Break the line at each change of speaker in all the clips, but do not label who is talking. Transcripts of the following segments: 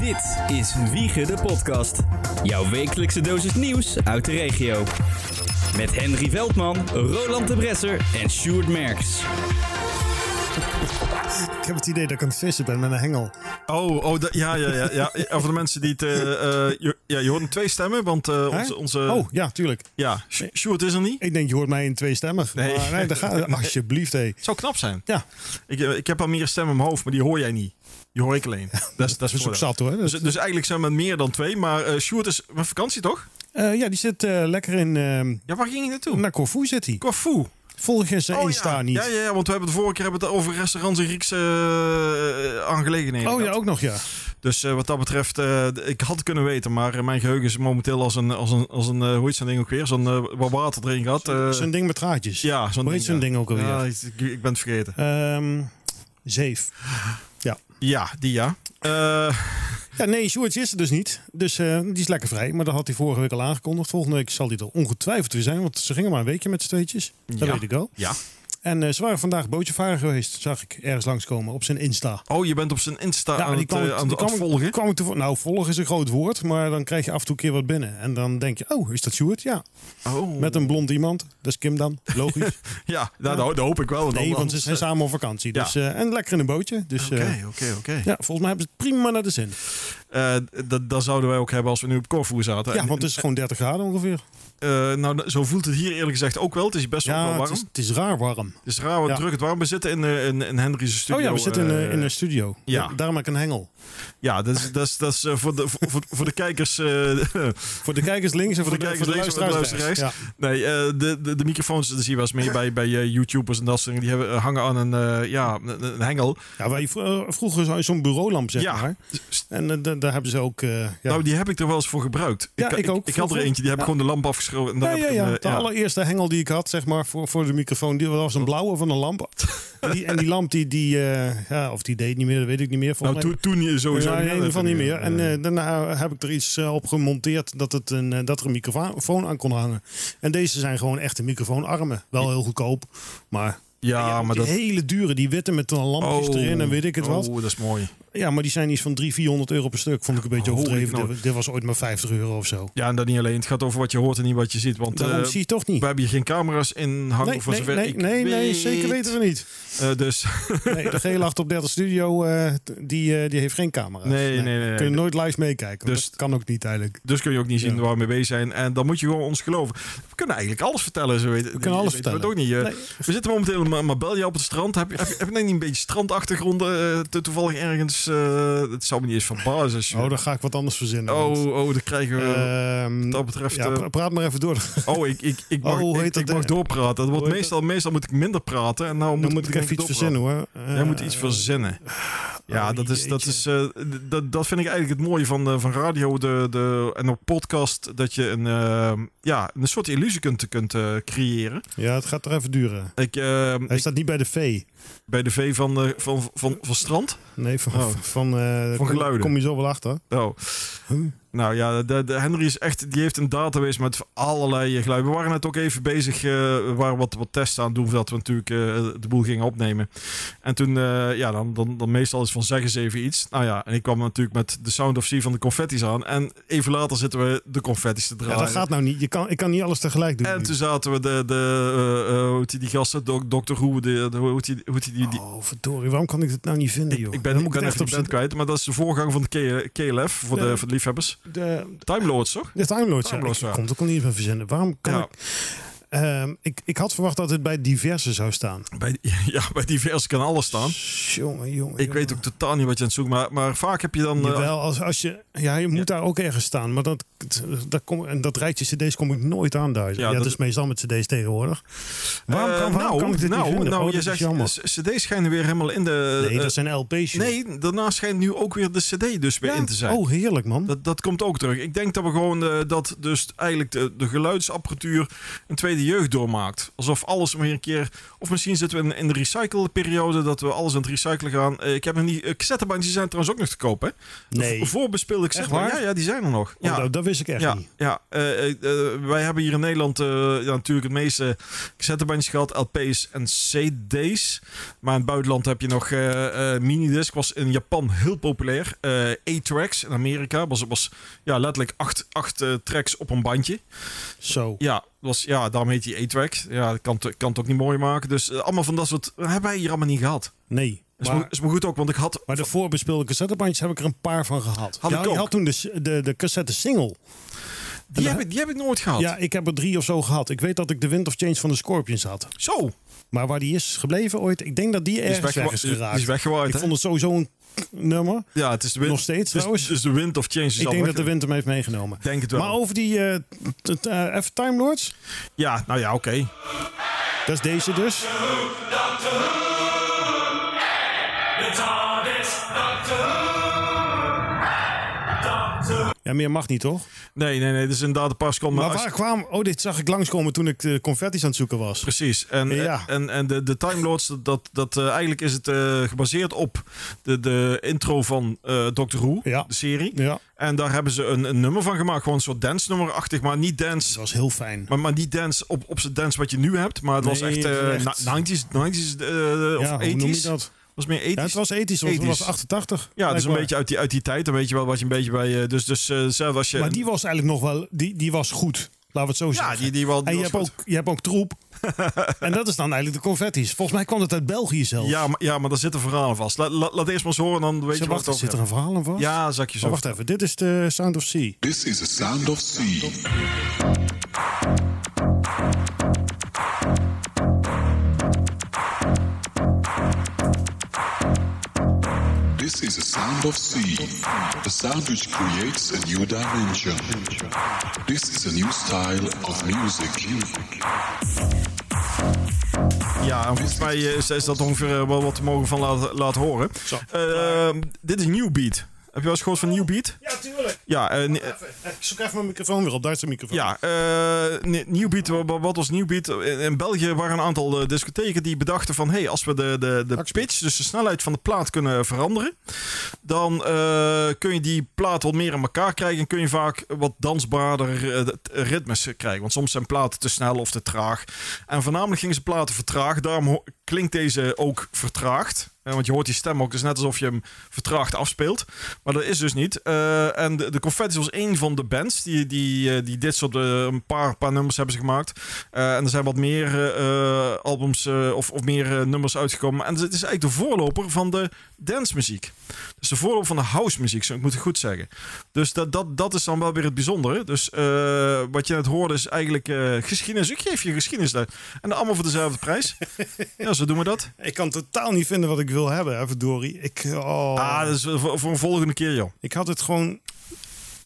Dit is Wiegen de Podcast. Jouw wekelijkse dosis nieuws uit de regio. Met Henry Veldman, Roland de Bresser en Sjoerd Merks.
Ik heb het idee dat ik aan het vissen ben met een hengel.
Oh, oh dat- ja, ja, ja, ja. Ja, Voor de mensen die het... eh, eh, je, ja, je hoort hem twee stemmen, want eh,
Hè?
onze... onze
Oh, ja, tuurlijk.
Ja, Sj- Sjoerd is er niet.
Ik denk, je hoort mij in twee stemmen.
Nee.
Maar nee, dat gaat, alsjeblieft, hé.
Het zou knap zijn.
Ja,
Ik, eh, ik heb al meer stemmen in mijn hoofd, maar die hoor jij niet. Die hoor ik alleen. Dat is, dat
dat is
is
ook
voordeel.
zat hoor. Dat-
Dus, dus eigenlijk zijn we meer dan twee, maar eh Sjoerd is met vakantie toch?
Eh, ja, die zit eh, lekker in... ehm,
Ja, waar ging je naartoe?
naar Corfu zit hij.
Corfu.
Volg eens zijn
Oh,
Insta
ja.
niet.
Ja, ja, ja, want we hebben de vorige keer hebben we het over restaurants en Griekse eh, aangelegenheden.
Oh ja,
gehad.
ook nog ja.
Dus eh, wat dat betreft, eh, d- ik had het kunnen weten, maar eh, mijn geheugen is momenteel als een, als een, als een eh, hoe heet zo'n ding ook weer? Zo'n eh, waar water erin gaat. eh,
Zo'n ding met draadjes.
ja, zo'n
Hoe heet zo'n
ja.
ding ook alweer?
Ja, ik, ik ben het vergeten.
Ehm, zeef.
Ja, die ja. Eh,
Ja, nee, Sjoerdje is er dus niet. Dus eh, die is lekker vrij. Maar dat had hij vorige week al aangekondigd. Volgende week zal hij er ongetwijfeld weer zijn. Want ze gingen maar een weekje met z'n tweetjes. Dat
Ja.
weet ik wel.
ja.
En eh, ze waren vandaag bootjevaren geweest. Zag ik ergens langskomen op zijn Insta.
Oh, je bent op zijn Insta aan, het, eh,
ik-
aan, het- aan
kwam
het
ik-
volgen.
kwam ik toevallig- nou, volgen is een groot woord, maar dan krijg je af en toe een keer wat binnen. En dan denk je, oh, is dat Sjoerd? Ja,
Oh.
met een blond iemand. Dat is Kim dan, logisch.
Ja, nou, dat, dat hoop ik wel. want
nee, want ze
anders-
zijn samen op vakantie.
Ja.
Dus, eh, en lekker in een bootje. Dus eh,
Oké, oké, oké.
ja, volgens mij hebben ze het prima naar de zin.
Eh, Dat dat zouden wij ook hebben als we nu op Corfu zaten.
Ja,
En,
want het is gewoon 30 graden ongeveer.
eh, nou, zo voelt het hier eerlijk gezegd ook wel. Het is best wel
Ja,
warm.
het is, het is raar warm.
Het is raar wat
Ja.
druk het warm. We zitten in, eh, in, in Henry's studio.
oh ja, we zitten in, eh,
eh,
in een studio.
ja.
Daarom heb ik een hengel.
Ja, dat is, dat is, dat is eh, voor, de, voor, voor- voor de kijkers... eh,
Voor de kijkers links en voor,
Voor
de,
de
voor de
kijkers links en voor de
luisteraars rechts.
luisteraars
Ja.
nee, eh, de, de, de microfoons, dat zie je wel eens meer bij, bij eh, YouTubers en dat soort dingen. Die hebben, hangen aan een, eh, ja, een, een hengel.
Ja, wij v- eh, vroeger zo- zo'n bureaulamp, zeg
Ja.
maar. En eh, da- daar hebben ze ook... eh, ja.
Nou, die heb ik er wel eens voor gebruikt.
Ja, ik ook.
Ik, had er eentje, die heb ik gewoon de lamp afgeschoven. En
Ja,
daar
ja,
heb ik
ja.
een,
De
eh, ja.
allereerste hengel die ik had, zeg maar, voor, voor de microfoon, die was een blauwe van een lamp. En die, en die lamp, die, die eh, ja, of die deed niet meer, dat weet ik niet meer.
Nou,
Volgens
toen, toen
mij-
sowieso.
Ja, in ieder geval niet meer. En
Eh,
eh, daarna heb ik er iets eh, op gemonteerd dat, het een, eh, dat er een microfoon aan kon hangen. En deze zijn gewoon echte microfoonarmen. Wel heel goedkoop, maar...
ja,
Ja,
maar
die
dat...
hele dure, die witte met dan lampjes erin en weet ik het wat.
Oh, dat is mooi.
Ja, maar die zijn iets van 300, 400 euro per stuk. Vond ik een beetje
Holy Eh,
overdreven.
knol.
Dit, dit was ooit maar 50 euro of zo.
Ja, en dat niet alleen. Het gaat over wat je hoort en niet wat je ziet. Want
Daarom
eh,
zie je toch niet.
we hebben hier geen camera's in hangen.
Nee,
voor
nee,
zover
nee,
ik
nee, nee,
weet.
zeker weten we niet.
Eh, dus
Nee, de gele 830 Studio eh, t- die, eh, die heeft geen camera's.
Nee, nee, nee, nee.
Kun je nooit live meekijken.
Dus-
Dus dat kan ook niet eigenlijk.
Dus kun je ook niet zien
Ja.
waar we mee bezig zijn. En dan moet je gewoon ons geloven. We kunnen eigenlijk alles vertellen. Zo weten. We
kunnen alles
We
vertellen.
ook niet. eh.
Nee.
We zitten momenteel in Ma- Marbella op het strand. Heb je, heb je, heb je net niet een beetje strandachtergronden eh, to- toevallig ergens? eh het zou me niet eens verbazen. als je-
Oh, dan ga ik wat anders verzinnen.
oh,
want,
oh, dan krijgen we...
ehm,
wat dat betreft...
ja,
eh,
pra- praat maar even door.
oh, ik, ik, ik mag,
Oh, hoe
ik-
heet
ik,
dat
mag
ding?
doorpraten. Dat wordt
heet
meestal, meestal moet ik minder praten. En nou moet,
Dan moet ik
denk
even iets
doorpraten.
verzinnen hoor.
Jij moet iets
Eh,
verzinnen. Ja,
oh,
dat, is, dat,
jeetje.
is, eh, d- dat, dat vind ik eigenlijk het mooie van, eh, van radio de, de, en ook podcast. Dat je een, eh, ja, een soort illusie kunt, kunt eh, creëren.
Ja, het gaat er even duren.
Ik, eh,
Hij
ik-
staat niet bij de V.
bij de V van, eh, van, van, van Strand.
Nee, van,
Oh.
van, eh,
Van
kom-
geluiden.
Kom je zo wel achter.
Oh.
Huh?
Nou ja, de, de Henry is echt, die heeft een database met allerlei eh, geluiden. We waren net ook even bezig, eh, we waren wat, wat tests aan het doen voordat we natuurlijk eh, de boel gingen opnemen. En toen, eh, ja, dan, dan, dan meestal is van zeg eens even iets. Nou ja, en ik kwam natuurlijk met de Sound of Sea van de confetti's aan. En even later zitten we de confetti's te
Ja,
draaien.
dat gaat nou niet. Je kan, ik kan niet alles tegelijk doen.
en dus
nu.
toen zaten we de, de eh, eh, hoe heet die, die gasten, Dok- Dr. Who, de, de, hoe heet die, hoe heet die, die, die-
Oh, verdorie. Waaram kan ik dit nou niet vinden, joh?
ik ben,
Dan
ik ben
het
echt op
z'n-
band kwijt, maar dat is de voorganger van de K- KLF, voor
Ja.
de, voor de liefhebbers.
de-
Time Lords, toch?
De Time Lords, ja.
Time Lords,
Ik
ja.
kon het ook al niet meer verzinnen. Waarom kan
Ja.
ik... Ehm, ik... Ik had verwacht dat het bij diverse zou staan.
Bij, ja, bij diverse kan alles staan.
Jongen, jongen.
Ik weet ook totaal niet wat je aan het zoeken maar, maar vaak heb je dan... eh,
Wel, als, als je, ja, je moet daar ook ergens staan. Maar dat, dat, kom, en dat rijtje cd's kom ik nooit aanduiden.
Ja,
Ja,
dat
dat is meestal met cd's tegenwoordig. Waarom,
eh,
kan, waarom
nou,
kan ik dit
nou,
niet vinden?
Nou,
Oh,
je
dat is
zegt,
jammer.
eh, cd's schijnen weer helemaal in de...
nee,
eh,
dat zijn LP's. joh.
nee, daarna schijnt nu ook weer de cd dus weer
Ja.
in te zijn.
Oh, heerlijk man.
Dat, dat komt ook terug. Ik denk dat we gewoon eh, dat dus eigenlijk de, de geluidsapparatuur een tweede tweede jeugd doormaakt. Alsof alles weer een keer... Of misschien zitten we in, in de recycleperiode, dat we alles aan het recyclen gaan. Eh, ik heb nog niet... eh, cassettebandjes zijn trouwens ook nog te kopen.
Nee,
Voorbespeelde cassettebandjes.
waar?
Ja, ja, die zijn er nog.
Oh,
Ja.
dat, dat wist ik echt
Ja,
niet.
ja eh, eh, eh, wij hebben hier in Nederland eh, ja, natuurlijk het meeste cassettebandjes gehad, LP's en CD's. Maar in het buitenland heb je nog eh eh minidisc, was in Japan heel populair. Eh A-tracks in Amerika, was, was ja, letterlijk acht, acht eh, tracks op een bandje.
Zo.
Ja, was, ja daarom heet die A-track. Ja, dat kan, het- kan het ook niet mooi maken. Dus eh, allemaal van dat soort, hebben wij hier allemaal niet gehad.
Nee.
Is, maar,
Maar,
is maar goed ook, want ik had...
maar de voorbespeelde cassettebandjes heb ik er een paar van gehad.
Had
ja,
ik
je
ook.
had toen de, de, de cassette single.
Die heb, ik- die heb ik nooit gehad.
Ja, ik heb er drie of zo gehad. Ik weet dat ik de Wind of Change van de Scorpions had.
Zo,
Maar waar die is gebleven ooit, ik denk dat die
die is,
ergens weg
weggewa-
is
die
geraakt.
is weggewaaid.
ik
hè?
vond het sowieso een nummer.
Ja, het is de wind.
Nog steeds,
het is-
trouwens.
Het is de wind of change. is
Ik
al
denk dat
weg.
de wind hem heeft meegenomen.
Ik denk het wel.
Maar over die eh, t- t- eh, even Time Lords,
Ja, nou ja, oké.
dat is deze dus. Ja, meer mag niet, toch?
Nee, nee, nee. Dus inderdaad een paar seconden.
Maar
als-
waar kwam... Oh, dit zag ik langskomen toen ik de confetti's aan het zoeken was.
Precies. En,
Ja.
en, en de, de Time Lords, dat, dat, dat, eh, eigenlijk is het eh, gebaseerd op de, de intro van eh Doctor Who,
Ja.
de serie.
Ja,
En daar hebben ze een, een nummer van gemaakt. Gewoon een soort dance-nummerachtig, maar niet
dat
dance...
was heel fijn.
Maar, maar niet dance op, op zijn dance wat je nu hebt. Maar het was
Nee,
echt, eh
echt.
na- 90s, 90s eh, of
ja, hoe
80s.
noem je dat?
was meer 80s.
Ja, het was ethisch, want het
80s.
was 88.
Ja, dus een
blijkbaar.
beetje uit die, uit die tijd. Dan weet je wel wat je een beetje bij... eh dus dus eh, zelf als je...
Maar die was eigenlijk nog wel... Die, die was goed. Laten we het zo
ja,
zeggen.
die, die wel... die
en je
was
hebt,
goed.
ook, je hebt ook troep. en dat is dan eigenlijk de confetti's. Volgens mij kwam het uit België zelf.
Ja, maar, ja, maar daar zitten verhalen vast. Laat, laat, laat eerst maar eens horen, dan weet
Zeg,
je wat
wacht,
het
zit
over
er een verhaal aan vast?
Ja, zakje
Oh,
zo.
wacht even, dit is de Sound of Sea.
This is the sound of sea. This is the sound of sea, the sound which creates a new dimension. This is a new style of music.
Ja, en volgens mij eh, is, is dat ongeveer eh, wel wat we mogen van laten, laten horen.
Zo.
Eh, ehm, dit is New Beat. Heb je wel eens gehoord van New Beat?
Ja, tuurlijk.
Ja, eh, ni- eh,
Ik zoek even mijn microfoon weer op, Duitse microfoon.
ja eh, ni- New Beat, wa- wa- wat was New Beat? In, in België waren een aantal eh, discotheken die bedachten van... hey, als we de, de, de pitch, dus de snelheid van de plaat kunnen veranderen... dan eh, kun je die plaat wat meer in elkaar krijgen... en kun je vaak wat dansbaarder eh, de- eh, ritmes krijgen. Want soms zijn platen te snel of te traag. En voornamelijk gingen ze platen vertragen. Daarom ho- klinkt deze ook vertraagd. Eh, Want je hoort die stem ook. Het is net alsof je hem vertraagd afspeelt. Maar dat is dus niet. Eh, en de, de Confetti was een van de bands die, die, eh, die dit soort eh, een paar, paar nummers hebben ze gemaakt. Eh, en er zijn wat meer eh, eh, albums eh, of, of meer eh, nummers uitgekomen. En het is eigenlijk de voorloper van de dancemuziek. Dus de voorloper van de house muziek, zo ik moet het goed zeggen. Dus dat, dat, dat is dan wel weer het bijzondere. Dus eh, wat je net hoorde is eigenlijk eh, geschiedenis. Ik geef je geschiedenis uit. En allemaal voor dezelfde prijs. ja, zo doen we dat.
Ik kan totaal niet vinden wat ik wil hebben, hè, verdorie. Ik, oh.
Ah, dat is voor, voor een volgende keer, joh.
ik had het gewoon...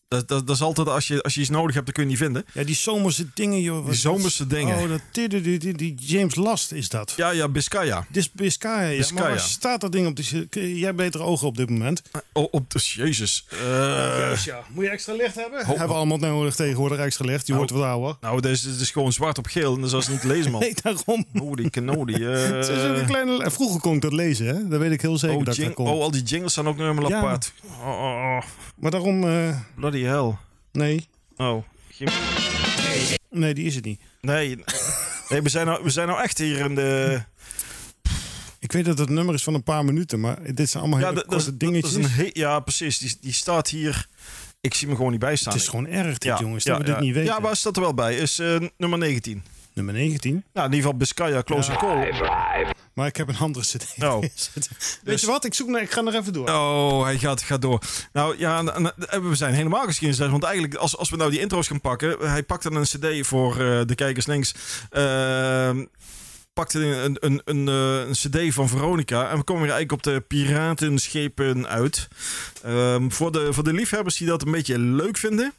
Dat, dat, dat is altijd als je, als je iets nodig hebt, dan kun je niet vinden.
Ja, die zomerse dingen, joh.
Die zomerse dingen.
Oh, dat, die, die, die, die- die James Last is dat.
Ja, ja, Biscaya.
Dit is Biscaya, ja. Maar
Biscaya.
waar staat dat ding op? Die, jij hebt betere ogen op dit moment.
Oh, op de, jezus. Eh,
ja. Moet je extra licht hebben?
ho.
Hebben we allemaal nodig tegenwoordig extra licht. Je wordt wat ouder.
nou, dit is, dit is gewoon zwart op geel. En dat is als niet te lezen, man.
Nee, daarom.
Holy cannoli. eh.
Het is ook een kleine... Vroeger kon ik dat lezen, hè? Dat weet ik heel zeker
oh,
dat ik
jing-
dat kon.
oh, al die jingles staan ook nog helemaal
Ja.
apart. Oh, oh, oh.
Maar daarom... eh,
Bloody hell.
nee.
Oh. Geen-
Nee, die is het niet.
Nee. nee we, zijn nou, we zijn nou echt hier in de...
Ik weet dat het nummer is van een paar minuten, maar dit zijn allemaal
Ja,
hele
dat, dat is-
korte dingetjes.
dat is een he- ja, precies. Die, die staat hier... Ik zie hem gewoon niet bij staan.
het is gewoon erg, dit,
ja,
jongens,
ja,
dat we
ja.
dit niet weten.
Ja, waar staat er wel bij? Is eh, nummer 19.
Nummer 19.
Nou, in ieder geval Biscaya, Close Call.
Maar ik heb een andere CD.
Oh.
Weet je wat? Ik zoek naar... Ik ga nog even door.
Oh, hij gaat, gaat door. Nou ja, en- en- en we zijn helemaal geschiedenis. Want eigenlijk, als, als we nou die intro's gaan pakken. Hij pakte een CD voor eh, de kijkers links. Ehm, pakte een, een, een, eh, een CD van Veronica. En we komen weer eigenlijk op de piratenschepen uit. Ehm, voor, de, voor de liefhebbers die dat een beetje leuk vinden.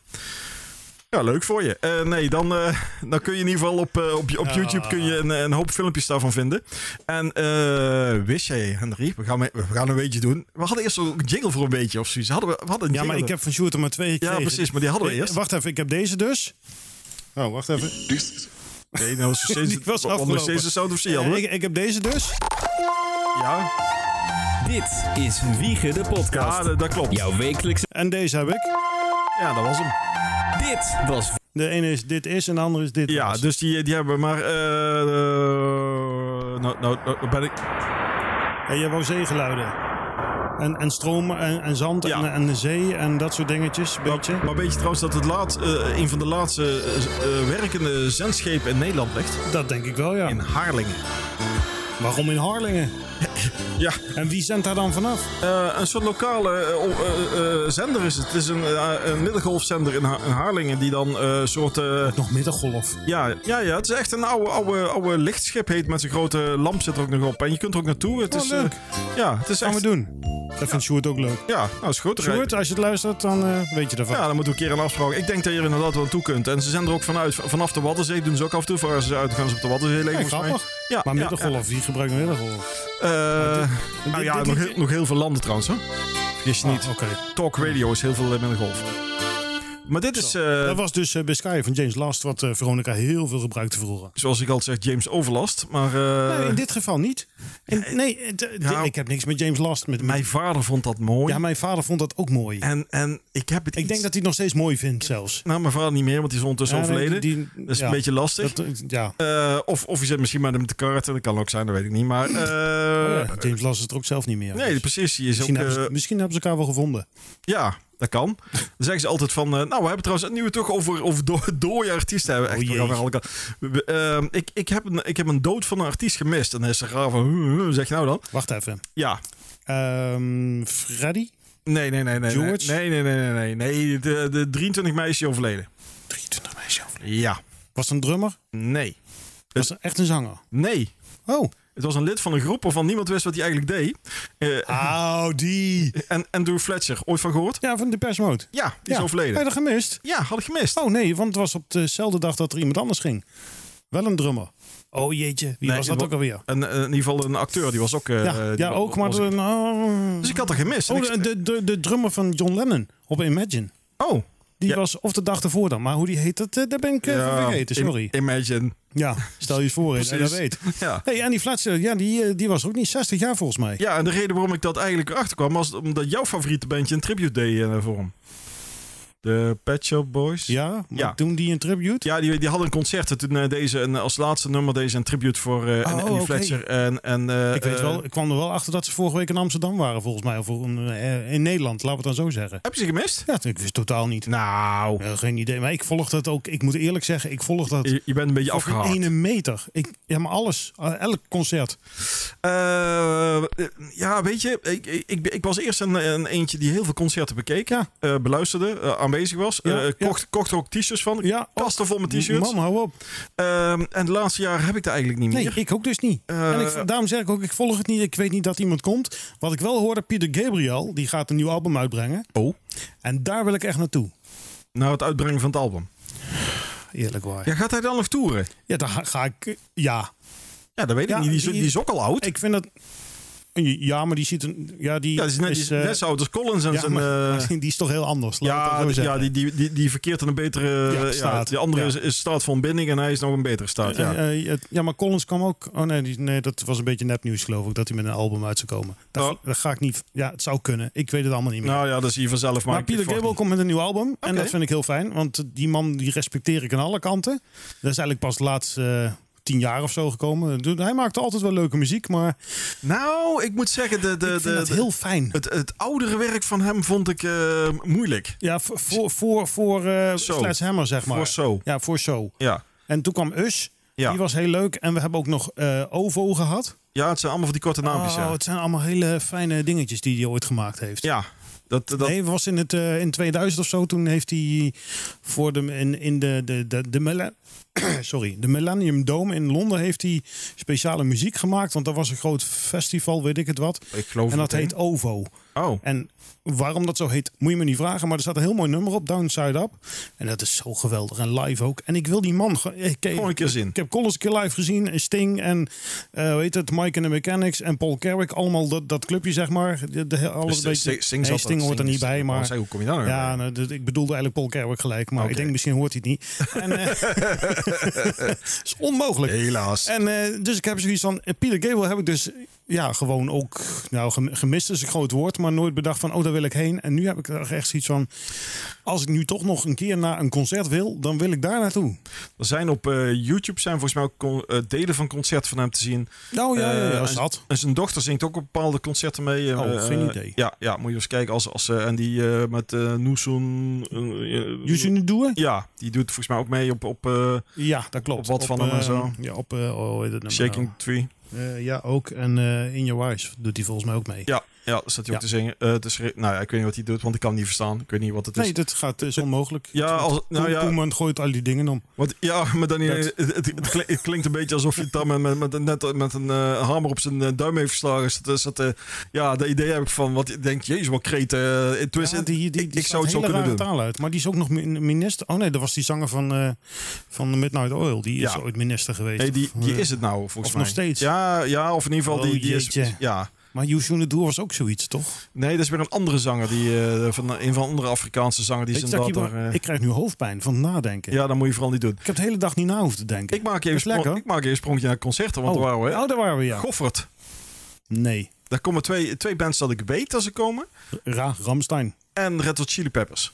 Ja, leuk voor je. Eh, nee, dan, eh, dan kun je in ieder geval op, eh, op, je- op
Ah.
YouTube kun je een, een hoop filmpjes daarvan vinden. En eh, wist jij, Henry, we gaan, mee- we gaan een beetje doen. We hadden eerst ook een jingle voor een beetje of zoiets. Hadden we, we hadden een
Ja, maar
jingle.
ik heb van Sjoerd er maar twee
Ja,
gekregen.
precies, maar die hadden we
Eh,
eerst.
Wacht even, ik heb deze dus. Oh, wacht even.
This
Nee, dat was nog steeds,
Die was
wat- wat nog
afgelopen.
steeds de Sound of Sea
Ja,
hadden we.
ik, ik heb deze dus.
Ja,
Dit is Wiegen de
ja
Podcast.
dat, dat klopt.
Jouw wekelijkse.
En deze heb ik.
Ja, dat was hem.
Dit was.
De ene is dit is en de andere is dit
Ja,
was.
dus die, die hebben we. Maar, eh, eh, nou, nou, nou ben ik...
En je wou zeegeluiden. En, en stroom en, en zand
Ja.
en, en de zee en dat soort dingetjes. Beetje.
Maar weet je trouwens dat het laat, eh, een van de laatste eh, eh, werkende zendschepen in Nederland ligt?
Dat denk ik wel, ja.
In Haarlingen.
Waarom in Harlingen?
Ja,
En wie zendt daar dan vanaf?
eh, een soort lokale eh, o- eh, eh, zender is het. Het is een, eh, een middengolfzender in, Ha- in Haarlingen die dan eh soort... eh,
Nog middengolf.
ja, ja, ja, het is echt een oude, oude, oude lichtschip heet met zijn grote lamp zit er ook nog op. En je kunt er ook naartoe. Het
Oh,
is, eh,
leuk.
ja, het is
Gaan
echt...
we doen. Dat vindt Sjoerd ook leuk.
Ja, nou is goed.
Sjoerd, als je het luistert, dan eh, weet je ervan.
Ja, dan moeten we een keer een afspraak. Ik denk dat je er inderdaad wel aan toe kunt. En ze zijn er ook vanuit, vanaf de Waddenzee doen ze ook af en toe. Voor als ze uitgaan ze op de Waddenzee liggen.
Ja,
volgens mij.
grappig.
Ja,
maar
ja,
middengolf, wie gebruikt een middengolf?
Eh, nou
dit-
ja,
dit
nog,
liedje-
heel, nog heel veel landen trouwens. Hè? Vergis je niet.
Ah, Oké.
Talk radio is heel veel eh, met een golf. Maar dit is, eh,
Dat was dus eh, Biscay van James Last, wat eh, Veronica heel veel gebruikte vroeger.
zoals ik altijd zeg, James Overlast. Maar eh,
Nee, in dit geval niet. In- nee, het, eh,
Ja.
di- ik heb niks met James Last. Met,
mijn vader vond dat mooi.
ja, mijn vader vond dat ook mooi.
en, en ik heb het
Ik
iets-
denk dat hij het nog steeds mooi vindt zelfs.
Nou, mijn vader niet meer, want die is ondertussen
Ja, nee,
overleden.
die-
dat is
ja.
een beetje lastig.
Dat, eh, ja.
Eh, of, of je zit misschien met hem te karten. Dat kan ook zijn, dat weet ik niet. Maar eh,
Oh, Ja, James Last is het er ook zelf niet meer. Dus
nee, precies. Die is ook,
misschien, hebben ze,
eh,
misschien hebben ze elkaar wel gevonden.
Ja, dat kan. Dan zeggen ze altijd van... eh, nou, we hebben trouwens... Nu we het toch over, over do dode artiesten hebben. Echt,
Oh,
we
jee.
gaan weer alle kanten. We- we, ehm, ik, ik, heb een, ik heb een dood van een artiest gemist. En dan is ze raar van... "Huh, huh," zeg je nou dan?
Wacht even.
Ja.
Ehm, Freddy?
Nee, nee, nee. nee
George?
Nee, nee, nee, nee. nee, nee. De, de 23 mei is hij overleden.
23 meisje overleden.
Ja.
Was het een drummer?
Nee.
Was het echt een zanger?
Nee.
Oh.
Het was een lid van een groep waarvan niemand wist wat hij eigenlijk deed. Eh,
Oh, die.
en Andrew Fletcher. Ooit van gehoord?
Ja, van de persmode.
Ja, die is
ja. Heb
overleden.
je dat gemist?
Ja, had ik gemist.
Oh nee, want het was op dezelfde dag dat er iemand anders ging. Wel een drummer. Oh jeetje, wie
Nee,
was dat
wa-
ook alweer?
En, eh, in ieder geval een acteur. Die was ook... eh,
Ja,
die
ja
wa-
ook, maar...
was-
de- nou,
Dus ik had er gemist. En
oh, de,
ik-
de, de, de drummer van John Lennon op Imagine.
Oh.
Die
Ja.
was of de dag ervoor dan, maar hoe die heet, dat, eh, daar ben ik eh, van vergeten,
im-
sorry.
Imagine.
ja, stel je eens voor dat je dat
Precies.
weet.
Ja.
Hey, en die Fletcher, ja, die, eh, die was ook niet 60 jaar volgens mij.
ja, en de reden waarom ik dat eigenlijk erachter kwam was omdat jouw favoriete bandje een tribute deed eh, voor hem. De Pet Shop Boys.
Ja, maar
Ja.
doen die een tribute?
Ja, die, die hadden een concert. en Toen eh, deze een, als laatste nummer deze een tribute voor eh en,
Oh,
Annie
oké.
Fletcher. En, en, eh,
Ik, weet
eh,
wel, ik kwam er wel achter dat ze vorige week in Amsterdam waren, volgens mij. Of eh, in Nederland, laten we het dan zo zeggen.
heb je ze gemist?
Ja, ik wist totaal niet.
Nou,
Eh, geen idee, maar ik volg dat ook. Ik moet eerlijk zeggen, ik volg dat
je, je bent een beetje
op een
afgehaald.
ene meter. Ik, ja, maar alles. eh, elk concert.
Eh, eh, ja, weet je, ik, ik, ik, ik was eerst een, een eentje die heel veel concerten bekeek,
Ja.
eh, beluisterde, eh, aanwezig was.
Ja,
eh,
ja.
kocht, kocht er ook t-shirts van.
Ja, Oh,
Kasten vol met t-shirts.
Man, hou op.
Ehm, en de laatste jaren heb ik dat eigenlijk niet
Nee,
meer.
ik ook dus niet.
Eh,
en ik, daarom zeg ik ook, ik volg het niet. Ik weet niet dat iemand komt. Wat ik wel hoorde, Pieter Gabriel, die gaat een nieuw album uitbrengen.
Oh.
En daar wil ik echt naartoe.
Nou, het uitbrengen van het album.
Eerlijk waar. Ja,
Ja, gaat hij dan nog toeren?
daar ga ik... Ja.
Ja, dat weet
Ja,
ik niet. Die, is-
die-
die is ook al oud.
Ik vind dat... Ja, maar die ziet een... Ja, die
ja, die is net, die is
eh,
net zo oud als Collins en
ja,
zijn...
maar-
eh,
die is toch heel anders. laat ik
ja,
het zo
die- ja
zeggen.
die, die, die, die verkeert in een betere
Ja,
eh, ja,
staat.
Die andere
Ja.
is, is staat van binding en hij is nog een betere staat. Ja.
Eh, eh, het- ja, maar Collins kwam ook. Oh nee, die, nee, dat was een beetje nepnieuws, geloof ik. Dat hij met een album uit zou komen. Dat,
Oh.
dat ga ik niet. Ja, het zou kunnen. Ik weet het allemaal niet meer.
nou ja, dat zie je vanzelf. Maar,
maar Peter
ik- ik
Gabriel
verwacht
komt met een nieuw album. En
Oké.
dat vind ik heel fijn. Want die man die respecteer ik aan alle kanten. Dat is eigenlijk pas de laatste eh, tien jaar of zo gekomen. Doe- Hij maakte altijd wel leuke muziek. Maar
niet. Nou, ik moet zeggen, de, de,
ik vind
de,
dat
de-
heel fijn.
het, het oudere werk van hem vond ik eh, moeilijk.
Ja, voor, voor, voor, voor eh,
Zo.
Sledgehammer, zeg maar.
Voor zo.
Ja, voor zo.
Ja.
En toen kwam Us.
Ja.
Die was heel leuk. En we hebben ook nog eh, OVO gehad.
ja, het zijn allemaal van die korte naampjes.
Oh,
ja.
het zijn allemaal hele fijne dingetjes die hij ooit gemaakt heeft.
ja, dat... dat
Nee, was in, het, eh, in 2000 of zo. Toen heeft hij voor de, in, in de, de, de, de, mille- sorry, de Millennium Dome in Londen heeft hij speciale muziek gemaakt. Want dat was een groot festival, weet ik het wat.
Ik geloof
En dat
meteen.
heet OVO.
Oh.
En waarom dat zo heet, moet je me niet vragen. Maar er staat een heel mooi nummer op, Down Side Up. En dat is zo geweldig. En live ook. En ik wil die man... ge- Ik, ik,
Gewoon een keer zien.
ik heb Collins een keer live gezien. En Sting en, eh hoe heet het, Mike and the Mechanics en Paul Carrick. Allemaal dat, dat clubje, zeg maar. De, de, alles
Dus
een beetje,
Sting- Sting
Nee,
zat-
Sting hoort er
Sting
niet
is-
bij,
Ik
maar...
zei, hoe kom je daar nou
Ja,
bij?
nou, dat- ik bedoelde eigenlijk Paul Carrick gelijk, maar
Oké.
ik denk misschien hoort hij het niet. En, eh, is onmogelijk.
Helaas.
En eh, dus ik heb zoiets van, eh, Peter Gable heb ik dus ja, gewoon ook, nou gem- gemist is een groot woord, maar nooit bedacht van, oh daar wil ik heen. En nu heb ik er echt zoiets van, als ik nu toch nog een keer naar een concert wil, dan wil ik daar naartoe.
Er zijn op eh, YouTube zijn volgens mij ook con- eh, delen van concerten van hem te zien.
Nou ja, ja, ja,
Eh,
is dat.
En zijn dochter zingt ook op bepaalde concerten mee. eh,
Oh,
eh,
geen idee.
Ja, ja, moet je eens kijken. Als, als, eh, en die eh, met eh Noesun... eh, eh,
Jusje nu doen?
ja, die doet volgens mij ook mee op, op eh,
Ja, dat klopt.
Op wat van hem
eh,
en zo.
Ja, op eh, oh, hoe heet het nummer
Shaking Tree.
nou? Eh, ja, ook. En eh, In Your Eyes doet hij volgens mij ook mee.
Ja, ja, daar staat hij ook
Ja.
te zingen. Eh, te schri- nou ja, ik weet niet wat hij doet, want ik kan hem niet verstaan. Ik weet niet wat het
nee,
is.
dat gaat, is onmogelijk.
dus- Ja, als, nou ja,
Koeman gooit al die dingen om.
Wat, ja, maar dan,
Dat-
het, het- het klinkt- het klinkt een beetje alsof je het dan met, met, met, een- net met een eh, hamer op zijn eh, duim heeft verslagen. Dus dat, is dat, eh, ja, dat idee heb ik van, wat ik denk, jezus, wat kreet. eh, tenminste,
Ja, die, die, die
ik, ik
slaat
zou het zo
hele
kunnen doen.
rare taal uit. Maar die is ook nog min- minister. Oh nee, dat was die zanger van, eh, van Midnight Oil. Die is
Ja.
ooit minister geweest.
Nee, die,
Of,
die
eh,
is het nou, volgens
of
mij.
nog steeds.
Ja, ja, of in ieder geval,
Oh,
die, die is...
jeetje.
Ja.
Maar Yushun Doer was ook zoiets, toch?
Nee, dat is weer een andere zanger, die, eh, van een van de andere Afrikaanse zanger. Die
Weet je,
zijn
Taki,
dochter...
maar
eh,
ik krijg nu hoofdpijn van het nadenken.
ja, dat moet je vooral niet doen.
Ik heb de hele dag niet na hoeven te denken.
Ik maak even,
is
sprong-
lekker.
ik maak even een sprongje naar concerten, want
oh,
daar waren we...
oh, daar waren we, ja.
Goffert.
Nee,
Daar komen twee, twee bands dat ik weet dat ze komen.
Ra, Ramstein.
En Red Hot Chili Peppers.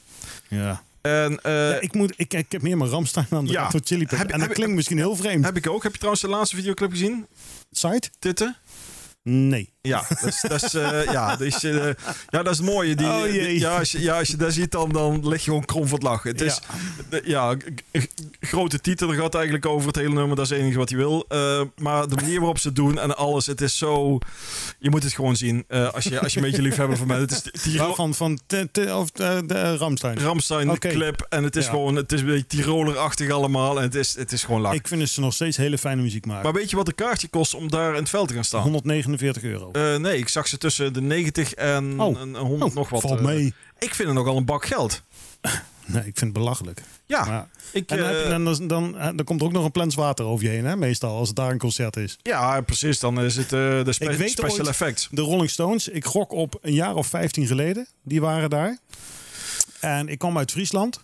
Ja.
En eh,
Ja, ik, moet, ik, ik heb meer mijn Ramstein dan de
Ja.
ja. Red Hot Chili Peppers.
Heb-
en dat
heb-
klinkt misschien heel vreemd.
heb ik ook. Heb je trouwens de laatste videoclip gezien?
Site?
Titten?
Nee.
Ja, dat is, dat is, eh, ja, dat is, eh, ja, dat is het mooie. Die,
Oh, jee.
ja, als je, ja, als je dat ziet, dan, dan lig je gewoon krom van het lachen. Het is, de- ja, g- g- grote titel. Er gaat eigenlijk over het hele nummer. Dat is het enige wat hij wil. Eh, maar de manier waarop ze het doen en alles. Het is zo... Je moet het gewoon zien. eh, als, je, als je een beetje liefhebber van mij. Het is t- Tiro-
Waarvan van te, te- of, eh, de, eh, Ramstein.
Ramstein
Oké.
clip. En het is
Ja.
gewoon... Het is een beetje Tirolerachtig allemaal. En het is, het is gewoon lachen.
Ik vind dat ze nog steeds hele fijne muziek maken.
Maar weet je wat een kaartje kost om daar in het veld te gaan staan?
149 euro.
Eh, nee, ik zag ze tussen de 90 en,
Oh.
en 100 nog wat.
Valt
eh.
mee.
Ik vind het nogal een bak geld.
Nee, ik vind het belachelijk.
Ja,
Maar-
ik,
en dan, heb
eh,
je- dan, dan, dan, eh, dan komt er ook nog een plens water over je heen, hè, meestal, als het daar een concert is.
ja precies. Dan is het eh, de spe-
Ik weet
special
ooit-
effects.
De Rolling Stones, ik gok op een jaar of 15 geleden. Die waren daar. En ik kwam uit Friesland.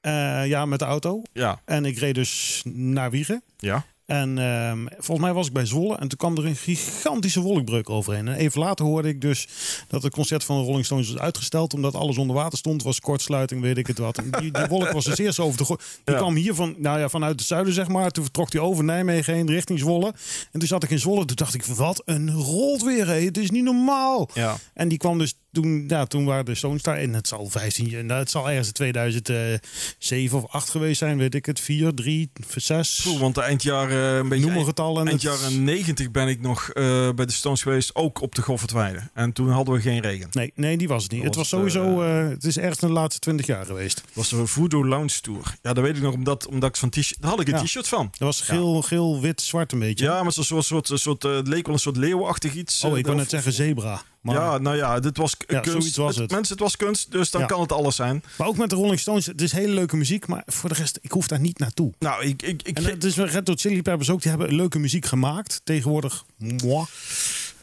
Eh, ja, met de auto.
Ja,
En ik reed dus naar Wiegen.
ja.
En ehm, volgens mij was ik bij Zwolle en toen kwam er een gigantische wolkbreuk overheen. En even later hoorde ik dus dat het concert van de Rolling Stones was uitgesteld. Omdat alles onder water stond, was kortsluiting, weet ik het wat. En Die, die wolk was dus eerst over de... gro- Die
Ja.
kwam hier van, nou ja, vanuit het zuiden zeg maar. Toen vertrok die over Nijmegen heen richting Zwolle. En toen zat ik in Zwolle. Toen dacht ik, wat een rolt weer. Hé. Het is niet normaal.
Ja.
En die kwam dus toen, ja, toen waren de Stones daar. En het zal 15 jaar, nou, het zal ergens in 2007 of 8 geweest zijn, weet ik het. 4, 3, 6.
Oeh, want de eindjaar, eh, een beetje
Noem maar
eind,
getallen.
eind
en het-
jaren 90 ben ik nog eh, bij de Stones geweest. Ook op de Goffertweide. En toen hadden we geen regen.
Nee, nee, die was het niet.
Dat
Het was
was het,
sowieso, eh, het is ergens in de laatste 20 jaar geweest.
Dat was een Voodoo Lounge Tour. Ja, dat weet ik nog omdat, omdat ik van t-shirt... Daar had ik een
Ja.
t-shirt van.
Dat was geel, geel, wit, zwart een beetje.
Ja, maar zo'n soort, soort, soort, eh, het leek wel een soort leeuwachtig iets.
oh,
eh,
ik wou
of-
net zeggen zebra. Maar,
ja, nou ja, dit was k-
Ja,
kunst.
zoiets was het.
Mensen, het was kunst, dus dan
Ja.
kan het alles zijn.
maar ook met de Rolling Stones, het is hele leuke muziek, maar voor de rest, ik hoef daar niet naartoe.
Nou, ik... ik, ik
En eh, het is met Red Hot Chili Peppers ook, die hebben leuke muziek gemaakt. Tegenwoordig, moi.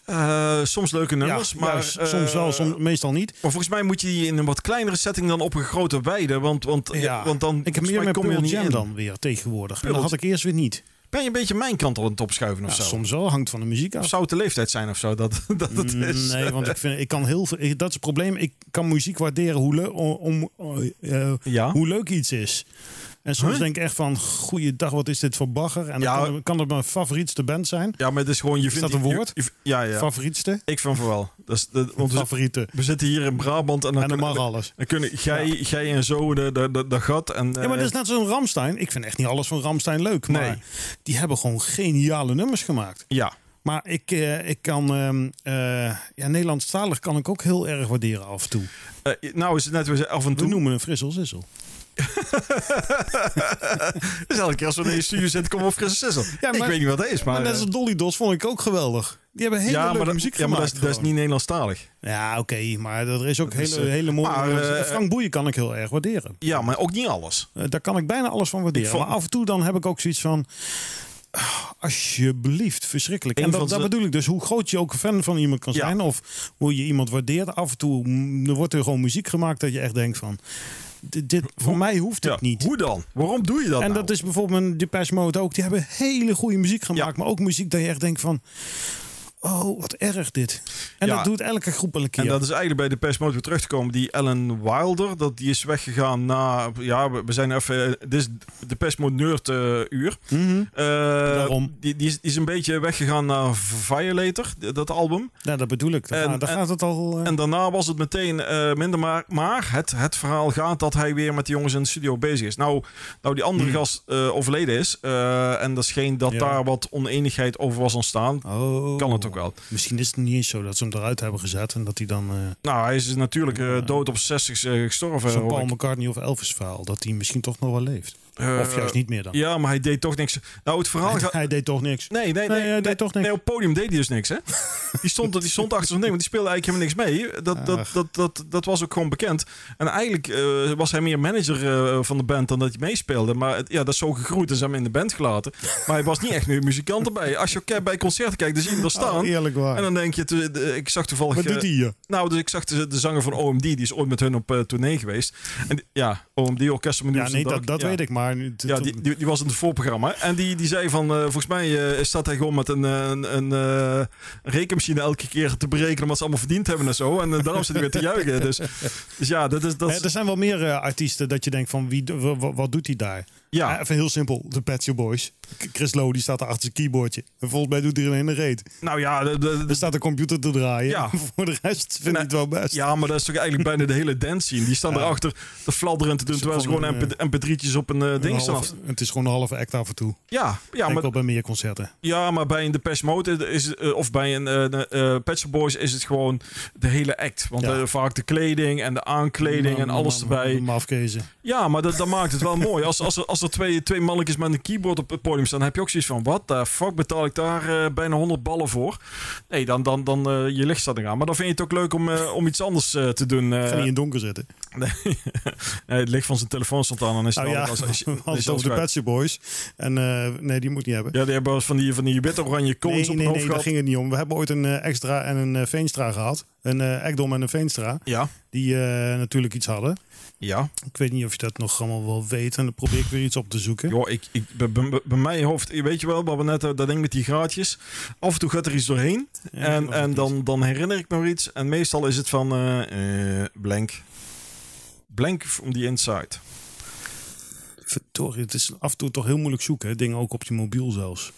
eh, soms leuke nummers,
ja,
Nou, maar...
juist.
eh,
soms wel, soms, meestal niet.
Maar volgens mij moet je die in een wat kleinere setting dan op een grote weide. Want, want, ja,
Ja.
want dan
Ik heb
volgens
meer
mij
met
kom je er
Pearl
niet
Jam
in.
dan weer tegenwoordig. En dat
Pearl-
had ik eerst weer niet.
Ben je een beetje mijn kant al aan het opschuiven of
Ja,
zo?
soms wel, hangt van de muziek
Of
af.
zou het de leeftijd zijn of zo? Dat, dat het is.
Nee, want ik, vind, ik kan heel veel. ik- dat is het probleem. Ik kan muziek waarderen hoe, le- om, om, eh,
Ja.
hoe leuk iets is. En soms
Huh?
denk ik echt van, goeiedag, wat is dit voor bagger? En
Ja.
dan kan, kan het mijn favorietste band zijn.
Ja, maar het is gewoon... Je vindt
dat een
je-
woord?
je- ja, ja.
Favorietste?
ik vind van wel. Dat is, dat, want we,
Favoriete.
we zitten hier in Brabant en dan,
En dan
kunnen,
mag alles.
dan kunnen jij, jij en zo de, de, de, de gat en...
Ja, maar
eh,
dat is net zo'n Ramstein. Ik vind echt niet alles van Ramstein leuk. Maar
Nee.
die hebben gewoon geniale nummers gemaakt.
ja.
Maar ik, eh, ik kan... ehm eh ja, Nederlandstalig kan ik ook heel erg waarderen af en toe.
Eh, nou is het net weer af en
We
toe.
noemen een frissel sissel.
Dus elke keer als we in de studio zitten, komen we op frisse sissel.
Ja,
ik
maar-
weet niet wat dat is, maar...
Maar net
eh,
als Dolly Dos vond ik ook geweldig. Die hebben hele leuke
maar dat-
muziek
ja, maar dat
gemaakt.
is, dat is niet Nederlandstalig.
gewoon. Ja, oké, maar er is ook hele,
is, eh,
hele mooie...
maar, eh,
Frank Boeien kan ik heel erg waarderen.
Ja, maar ook niet alles.
Eh, daar kan ik bijna alles van waarderen.
Ik vond-
Maar af en toe dan heb ik ook zoiets van... ah, Alsjeblieft, verschrikkelijk.
Een
En
van
dat, dat
ze-
bedoel ik dus. Hoe groot je ook een fan van iemand kan
Ja.
zijn... of hoe je iemand waardeert. Af en toe mm, er wordt er gewoon muziek gemaakt... dat je echt denkt van... dit, dit- voor mij hoeft het
Ja,
niet.
Hoe dan? Waarom doe je dat
En
nou?
dat is bijvoorbeeld een Depeche Mode ook. Die hebben hele goede muziek gemaakt. Maar ook muziek dat je echt denkt van... Oh, wat erg dit. En
Ja.
dat doet elke groep wel een keer.
En dat is eigenlijk bij de persmotor weer terug te komen. Die Ellen Wilder, dat, die is weggegaan na... Ja, we we zijn even... eh, Dit is de persmotor nerd eh, uur.
Mhm.
Eh,
Daarom.
Die, die, is, die is een beetje weggegaan naar Violator, d- dat album.
Ja, Nou, dat bedoel ik. Daar,
En-
gaat- daar
en-
gaat het al... eh,
En daarna was het meteen eh, minder. Maar, maar het, het verhaal gaat dat hij weer met de jongens in de studio bezig is. Nou, nou die andere gast eh, overleden is. eh, en dat scheen dat
Hmm. Ja.
daar wat oneenigheid over was ontstaan.
oh.
Kan het ook wel.
Misschien is het niet eens zo dat ze hem eruit hebben gezet. En dat hij dan... eh,
Nou, hij is natuurlijk eh, dood op 60 eh, gestorven.
Zo'n
hoor
Paul
ik.
McCartney of Elvis verhaal. Dat hij misschien toch nog wel leeft.
Eh,
of juist niet meer dan.
Ja, maar hij deed toch niks. Nou, het verhaal
hij,
gaat.
hij deed toch niks.
Nee, nee, nee.
hij deed eh, toch niks.
Nee, op het podium deed hij dus niks, hè? Die stond, die stond achter zijn neem, want die speelde eigenlijk helemaal niks mee. Dat, dat,
Ach.
dat, dat, dat was ook gewoon bekend. En eigenlijk eh, was hij meer manager eh, van de band dan dat hij meespeelde. Maar het- ja, dat is zo gegroeid en ze hebben hem in de band gelaten. Maar hij was niet echt meer muzikant erbij. Als je ook bij concerten kijkt, dan zie je hem er staan.
Oh, Eerlijk
en
waar.
dan denk je, te- de- ik zag toevallig...
Wat doet
eh,
hij hier?
nou, dus ik zag de, de zanger van OMD, die is ooit met hun op eh, tournee geweest. En die- ja, OMD, Orchestra Menu.
Ja, nee, dat, dat weet ik. Maar het-
dus Ja, die, die, die was in het voorprogramma. En die, die zei van, eh, volgens mij eh, staat hij gewoon met een, eh, een, een eh, rekenmachine elke keer te berekenen wat ze allemaal verdiend hebben en zo. En eh, daarom zit hij weer te juichen. Dus, dus ja, dat is... Dat
Hè, er
is
zijn wel meer eh, artiesten dat je denkt van wie, wa- wa- wat doet hij daar? Eh,
ja,
Even heel simpel, de Pet Shop Boys. K- Chris Lowe die staat daar achter zijn keyboardje. En volgens mij doet hij alleen een reet.
nou ja, de- de-
Er
de-
staat een computer te draaien.
Ja.
Voor de rest vind
Nou,
ik het wel best.
ja, maar dat is toch eigenlijk bijna de hele dance scene. Die staan erachter te fladderen te doen, terwijl ze
gewoon
gewoon
een,
mp3'tjes op een eh,
Een
ding staan.
halve-
af-
het is gewoon een halve act af en toe.
Ja, ja,
denk
maar,
wel bij meer concerten.
ja, maar bij een Depeche Mode is, eh, of bij een eh eh, Pet Shop Boys is het gewoon de hele act. Want
Ja.
eh, vaak de kleding en de aankleding en alles erbij.
Maar afkezen.
Ja, maar dat, dat maakt het wel mooi. Als, als er, als er twee, twee mannetjes met een keyboard op het podium staan, heb je ook zoiets van: wat de fuck betaal ik daar eh, bijna 100 ballen voor? Nee, dan, dan, dan eh, je licht staat er aan. Maar dan vind je het ook leuk om, eh, om iets anders eh, te doen. eh.
Ga niet in het donker zitten.
nee, het licht van zijn telefoon stond aan. Dan is het
Nou ja,
al-
we
als- als-
hadden
als-
het over de
als-
Pet Shop Boys. En eh, nee, die moet niet hebben.
Ja, die hebben wel eens van die, van die wit-oranje
Nee,
cones
nee,
op hun
nee, daar
hoofd
ging
gehad.
het niet om. We hebben ooit een eh, Extra en een eh, Veenstra gehad. Een eh Ekdom en een Veenstra.
Ja,
Die eh, natuurlijk iets hadden.
ja.
Ik weet niet of je dat nog allemaal wel weet. En dan probeer ik weer iets op te zoeken.
Joh, ik, ik, bij, bij- bij mijn hoofd, weet je wel, wat we net eh, dat ding met die gaatjes. Af en toe gaat er iets doorheen.
Ja, ik
En,
geloof het
en
niet.
dan, dan herinner ik me nog iets. En meestal is het van eh, eh, blank. Blank from the inside.
Verdorie, het is af en toe toch heel moeilijk zoeken. hè. Dingen ook op je mobiel zelfs.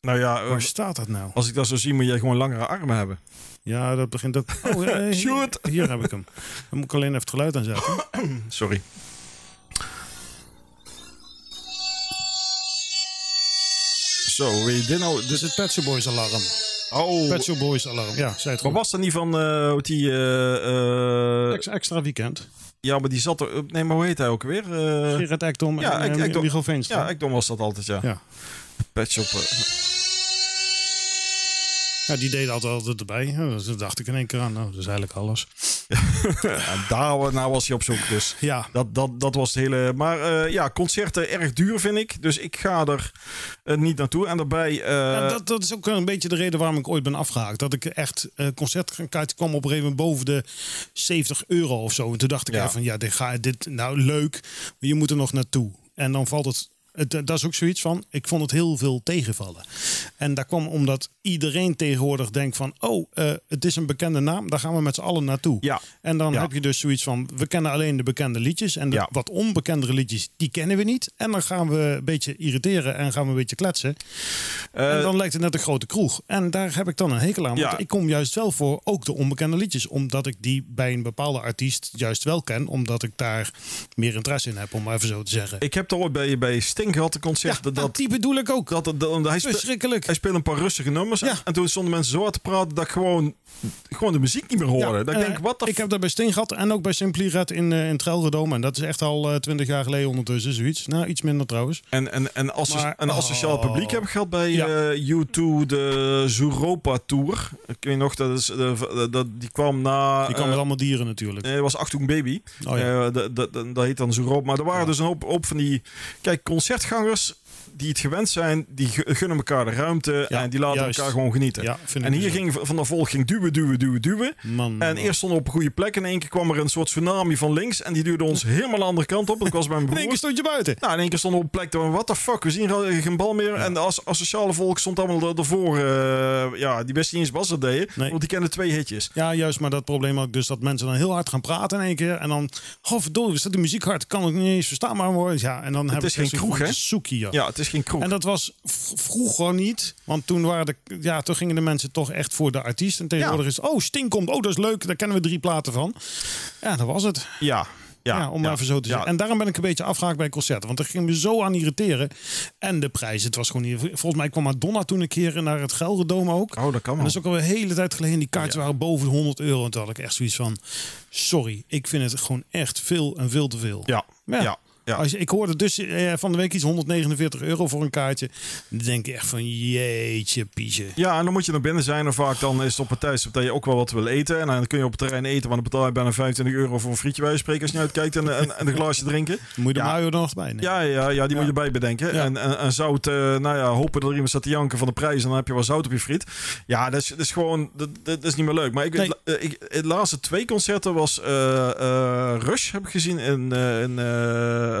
Nou ja, eh,
Waar staat dat nou?
als ik dat zo zie, moet jij gewoon langere armen hebben.
Ja, dat begint... Dat... Oh, eh,
Shoot.
Hier, hier heb ik hem. Dan moet ik alleen even het geluid aanzetten.
Sorry. Zo, weet je dit nou?
Dus
Dit
het Pet Shop Boys alarm.
oh,
Pet Shop Boys alarm. Ja, zei het
maar
goed.
was dat niet van eh, hoe die... eh, eh,
Ex- Extra weekend.
ja, maar die zat er... Nee, maar hoe heet hij ook weer? Eh,
Gerard Ekdom en
ja,
ja,
Ek- Ekdom.
Michiel Veenstra.
ja, Ekdom was dat altijd, ja.
Ja.
Patch op... eh,
Ja, die deden altijd, altijd erbij. Ja, dat dacht ik in één keer aan. Nou, dat is eigenlijk alles.
Ja, daar nou was hij op zoek dus.
Ja.
Dat, dat, dat was het hele... Maar eh, ja, concerten erg duur vind ik. Dus ik ga er eh, niet naartoe. En daarbij... eh,
Ja, dat, dat is ook een beetje de reden waarom ik ooit ben afgehaakt. Dat ik echt eh concertkaart kwam op een gegeven moment boven de 70 euro of zo. En toen dacht ik
Ja.
even van ja, dit, ga, dit nou leuk, maar je moet er nog naartoe. En dan valt het, het, eh, dat is ook zoiets van, ik vond het heel veel tegenvallen. En dat kwam omdat iedereen tegenwoordig denkt van, oh, eh, het is een bekende naam, daar gaan we met z'n allen naartoe.
Ja.
En dan
Ja.
heb je dus zoiets van, we kennen alleen de bekende liedjes. En de
Ja.
wat onbekendere liedjes, die kennen we niet. En dan gaan we een beetje irriteren en gaan we een beetje kletsen. En
eh,
dan lijkt het net een grote kroeg. En daar heb ik dan een hekel aan. Want
Ja.
ik kom juist wel voor ook de onbekende liedjes. Omdat ik die bij een bepaalde artiest juist wel ken. Omdat ik daar meer interesse in heb, om maar even zo te zeggen.
ik heb er ooit bij, bij Sting gehad een concert.
ja,
dat,
dat,
dat,
die bedoel ik ook.
dat, dat- dat- hij, speel-
Verschrikkelijk.
hij speelde een paar rustige nummers.
Ja.
En toen stonden mensen zo hard te praten dat ik gewoon, gewoon de muziek niet meer hoorde.
Ja,
dat ik
eh,
denk, wat de
ik heb dat bij Sting gehad en ook bij Simply Red in, eh in Trelredome. En dat is echt al eh, twintig jaar geleden ondertussen, zoiets. Nou, iets minder trouwens.
En, en, en als
Maar-
een asociaal
oh.
publiek heb ik gehad bij
Ja.
eh, U2, de Zuropa Tour. Ik weet nog, dat is, de, dat, die kwam na...
Die kan
eh,
met allemaal dieren natuurlijk.
Nee, dat was Achtung Baby.
Oh ja.
Eh, dat- dat- dat- dat heet dan zo rood. Maar er waren
Ja.
dus een hoop, hoop van die... Kijk, concertgangers die het gewend zijn, die gu- gunnen elkaar de ruimte
Ja,
en die laten
juist.
elkaar gewoon genieten.
Ja, vind ik
en hier
dus
ging Van der Volk ging duwen, duwen, duwen, duwen.
Man,
En eerst stonden we op een goede plek en in één keer kwam er een soort tsunami van links en die duwde ons helemaal de andere kant op. Ik was bij
in
mijn
één
broer.
keer stond je buiten.
Nou, in één keer stonden we op een plek dat we, what the fuck, we zien geen- geen bal meer. En de as asociale volk stond allemaal er- ervoor. eh, ja, die wisten niet eens wat ze deden,
Nee.
want die kenden twee hitjes.
Ja, juist, maar dat probleem ook dus dat mensen dan heel hard gaan praten in één keer. En dan, oh verdorie, is dat de muziek hard? Kan ik niet eens verstaan, maar hoor. Ja, en dan hebben
is geen kroeg, hè?
Zoekie, ja.
Ja, het is geen kroeg.
En dat was v- vroeger niet, want toen, waren de, ja, toen gingen de mensen toch echt voor de artiest. En tegenwoordig is, oh, Sting komt, oh, dat is leuk, daar kennen we drie platen van. Ja, dat was het.
ja, ja,
Ja, om maar even zo te
ja.
zeggen. En daarom ben ik een beetje afgehaakt bij concerten. Want er ging me zo aan irriteren. En de prijs, het was gewoon niet... Volgens mij kwam Madonna toen een keer naar het Gelredome ook.
Oh, dat kan
En
wel.
dat is ook al een hele tijd geleden. Die kaarten waren boven de 100 euro. En toen had ik echt zoiets van... Sorry, ik vind het gewoon echt veel en veel te veel.
Ja, ja, ja.
Als je, ik hoorde dus eh, van de week iets 149 euro voor een kaartje. Dan denk ik echt van jeetje piezen.
Ja, en dan moet je naar binnen zijn. En vaak dan is het op een tijdstip dat je ook wel wat wil eten. En dan kun je op het terrein eten, want dan betaal je bijna 25 euro voor een frietje bij je spreken als je niet uitkijkt en, en, en een glaasje drinken.
Moet je de
Ja.
mayo er nog bij nemen.
Ja, ja, ja die moet je bij bedenken.
Ja.
En, en, en zout, eh, nou ja, hopen dat er iemand staat te janken van de prijs. En dan heb je wel zout op je friet. Ja, dat is, dat is gewoon, dat, dat is niet meer leuk. Maar ik,
Nee.
het la- ik, het laatste twee concerten was eh, eh, Rush, heb ik gezien, in, eh, in eh, eh,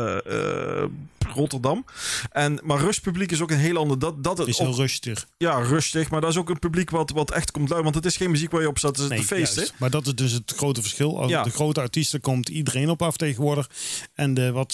Rotterdam. En, maar Rush publiek is ook een heel ander. Dat, dat het
is
op-
heel rustig.
ja, rustig. Maar dat is ook een publiek wat, wat echt komt lui. Want het is geen muziek waar je op staat te
Nee,
feesten.
juist. Maar dat is dus het grote verschil. Als
Ja.
de grote artiesten komt iedereen op af tegenwoordig. En de wat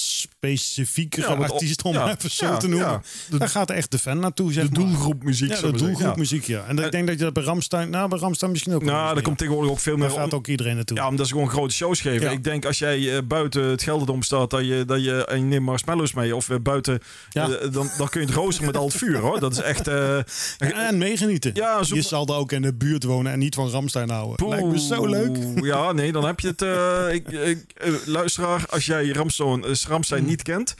specifiekere
Ja, wat op-
artiesten, om
ja,
maar even zo
ja,
te noemen.
ja. De-
daar gaat echt de fan naartoe, zeg
De
maar.
doelgroep muziek.
Ja,
zullen
de
we
doelgroep
zeggen.
muziek, ja. En ik denk dat je dat bij Ramstein... Nou, bij Ramstein misschien ook.
Ja. Nou, daar
dat
komt tegenwoordig ook veel
Daar
meer om-
gaat ook iedereen naartoe.
Ja, omdat ze gewoon grote shows geven.
Ja.
Ik denk als jij eh, buiten het Gelderdom staat, dat je, dat je, en je neemt marshmallows mee. Of eh, buiten,
Ja.
eh, dan, dan kun je het roosteren met al het vuur hoor. Dat is echt... eh,
En meegenieten.
Ja, zoek-
Je zal daar ook in de buurt wonen en niet van Ramstein houden.
poeh.
Lijkt me zo leuk.
Ja, nee, dan heb je het. eh, ik, ik, eh, luisteraar, als jij Ramstein, eh, Ramstein
Mm.
niet kent,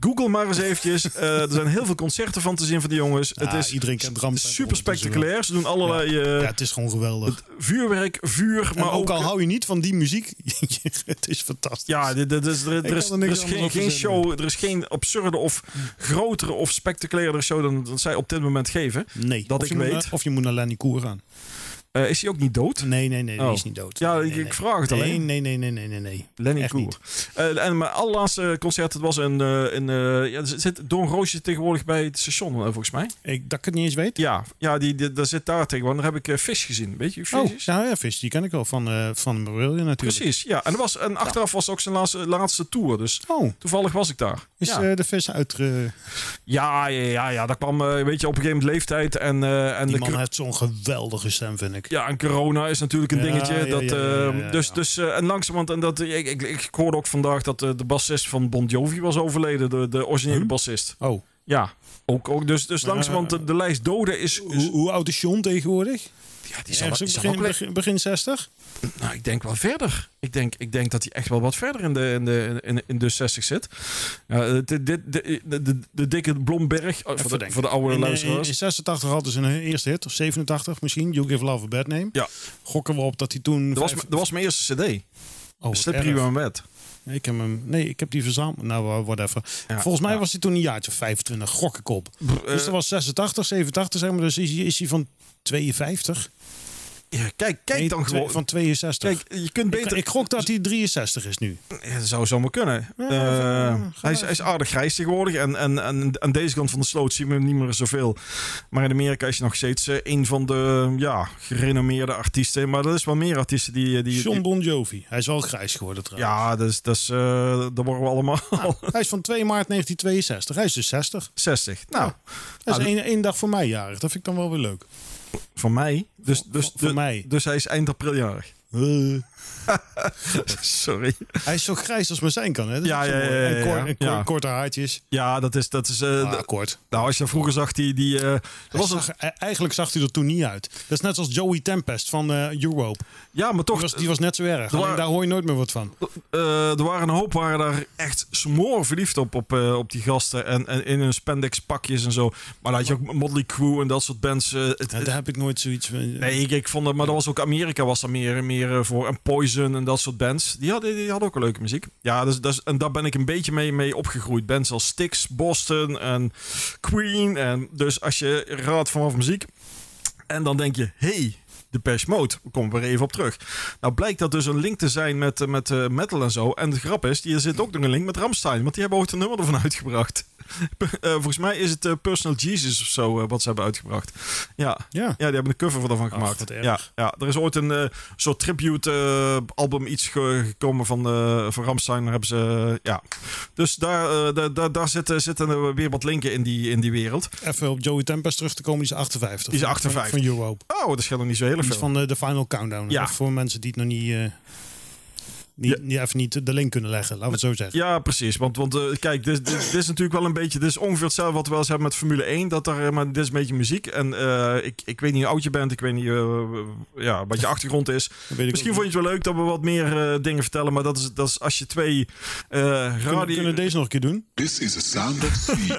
google maar eens eventjes. Eh, er zijn heel veel concerten van te zien van die jongens.
Ja,
het is
iedereen kent Ramstein
super spectaculair. Ze doen allerlei eh,
Ja, het is gewoon geweldig.
vuurwerk, vuur,
maar
maar
ook,
ook...
al hou je niet van die muziek, het is fantastisch.
Ja, dit, dit is, er, er
kan
is,
er
er,
niks
is
anders
geen,
over
geen
zeggen.
show, er is geen absurde of grotere of spectaculairder show dan, dan zij op dit moment geven.
nee.
dat
of
ik
je moet
weet.
naar- of je moet naar Lenny Koer gaan.
Eh, is hij ook niet dood?
Nee, nee, nee, die
Oh.
is niet dood.
Ja,
Nee,
ik-
nee,
ik
nee.
vraag het
nee,
alleen.
Nee, nee, nee, nee, nee, nee.
Lenny
Echt
Koer.
niet.
Eh, en mijn allerlaatste concert, dat was in... eh in eh, ja, er zit Don Roosje tegenwoordig bij het station, eh, volgens mij.
Ik, dat ik het niet eens weet.
Ja, ja die, die, daar zit daar tegenwoordig. Daar heb ik eh, Fish gezien. Weet je wie Fish
Oh,
is?
ja, ja, vis, die ken ik wel van, eh van Marillion natuurlijk.
Precies, ja. En, er was, en achteraf was het ook zijn laatste, laatste tour, dus...
Oh,
Toevallig was ik daar.
is
ja.
eh, de vis uit... eh,
ja, ja, ja, ja. Daar kwam, eh, weet je, op een gegeven moment leeftijd en, eh, en
die
de
man heeft zo'n geweldige stem, vind ik.
Ja, en corona is natuurlijk een
Ja,
dingetje.
ja,
dat,
ja,
eh,
ja, ja, ja,
dus,
ja.
dus, eh, en langzamerhand, en dat, ik, ik, ik hoorde ook vandaag dat eh, de bassist van Bon Jovi was overleden, de, de originele bassist.
Oh,
Ja, ook, ook, dus, dus langzamerhand, de, de lijst doden is...
hoe,
is
hoe oud is John tegenwoordig?
ja, die zal,
Ergens
die
ook
zal
begin,
ook le-
begin, begin 60?
Nou, ik denk wel verder. Ik denk, ik denk dat hij echt wel wat verder in de, in de, in, in de 60 zit. Ja, dit, dit, de, de, de, de dikke Blomberg, eh, voor de,
denken.
voor de oude
In, eh,
luisteraars.
in 86 hadden ze een eerste hit, of 87 misschien. You Give Love a Bad Name.
Ja.
Gokken we op dat hij toen...
Dat was,
vijf-
mijn- dat was mijn eerste cd.
Oh, wat
Slippery
erg.
When Wet.
Nee, ik heb hem. Nee, ik heb die verzameld. Nou, eh, whatever.
Ja,
Volgens mij
ja.
was hij toen een jaartje of 25, gok ik op.
Brr,
dus
eh,
dat was 86, 87, zeg maar. Dus is hij, is hij van 52?
Ja, kijk,
Nee,
kijk dan
twe-
gewoon.
Van 62.
Kijk, je kunt
ik,
beter...
ik gok dat hij 63 is nu.
Ja, dat zou zomaar kunnen.
Ja,
Eh,
ja, ga
hij, is, hij is aardig grijs tegenwoordig. En, en, en aan deze kant van de sloot zien we hem niet meer zoveel. Maar in Amerika is hij nog steeds eh, een van de ja, gerenommeerde artiesten. Maar dat is wel meer artiesten die... eh, die,
John
die-
Bon Jovi. Hij is wel grijs geworden trouwens.
ja, dat, is, dat, is, eh, dat worden we allemaal.
Hij is van 2 maart 1962. Hij is dus 60.
60. Nou,
Dat
Ah,
is één, één dag voor mij jarig. Dat vind ik dan wel weer leuk.
voor mij. Dus, dus,
voor- voor
dus-
mij.
dus hij is eind april jarig.
Eh,
Sorry.
hij is zo grijs als maar zijn kan. Hè? Dat is
Ja,
ook zo
ja,
mooi.
ja, ja,
En, kor-
ja.
en kor-
Ja.
korte haartjes.
Ja, dat is... Dat is eh,
Ah,
d-
kort.
nou, als je vroeger zag die... die eh, dat was
Hij
een,
zag- eh, eigenlijk zag hij er toen niet uit. Dat is net als Joey Tempest van eh, Europe.
ja, maar toch...
Die was, die was net zo erg.
Er
Alleen
waren-
daar hoor je nooit meer wat van.
Eh, er waren een hoop waren daar echt smoor verliefd op, op, eh, op die gasten. En, en in hun spandex pakjes en zo. Maar dan had je ook Motley Crue en dat soort bands. eh, het-
Ja,
het-
daar heb ik nooit zoiets van.
nee, ik, ik vond dat, maar dat was ook Amerika was er meer, meer meer eh, voor. En Poison en dat soort bands. Die hadden, die hadden ook wel leuke muziek. Ja, dus, dus, en daar ben ik een beetje mee, mee opgegroeid. Bands als Styx, Boston en Queen. En dus als je raadt vanaf muziek. En dan denk je, hey, Depeche Mode. We komen weer even op terug. Nou blijkt dat dus een link te zijn met, eh, met eh, metal en zo. En de grap is, hier zit ook nog een link met Ramstein. Want die hebben ooit een nummer ervan uitgebracht. Eh, volgens mij is het eh, Personal Jesus of zo eh, wat ze hebben uitgebracht. Ja,
Ja.
ja, die hebben een cover voor daarvan
Ach,
gemaakt.
wat erg.
ja, ja, er is ooit een eh, soort tribute eh, album iets ge- gekomen van, eh, van Ramstein. Daar hebben ze, eh, ja. Dus daar, eh, daar, daar, daar zitten, zitten er weer wat linken in die, in die wereld.
Even op Joey Tempest terug te komen, die is 58.
Die is 58.
Van Europe.
Oh, dat scheelt nog niet zo heel
Die
veel.
is van eh, de, de Final Countdown.
Ja.
Even Voor mensen die het nog niet... eh, niet, niet- even niet de link kunnen leggen, laten we het zo zeggen.
Ja, precies. Want, want eh, kijk, dit, dit, dit is natuurlijk wel een beetje... Dit is ongeveer hetzelfde wat we wel eens hebben met Formule 1. Dat er, eh, maar dit is een beetje muziek. En eh, ik, ik weet niet hoe oud je bent. Ik weet niet eh, ja, wat je achtergrond is.
Dat weet ik
Misschien
ook
vond je het wel leuk dat we wat meer eh, dingen vertellen. Maar dat is, dat is als je twee eh
niet.
radio...
kunnen, kunnen we deze nog een keer doen?
This is the sound of sea.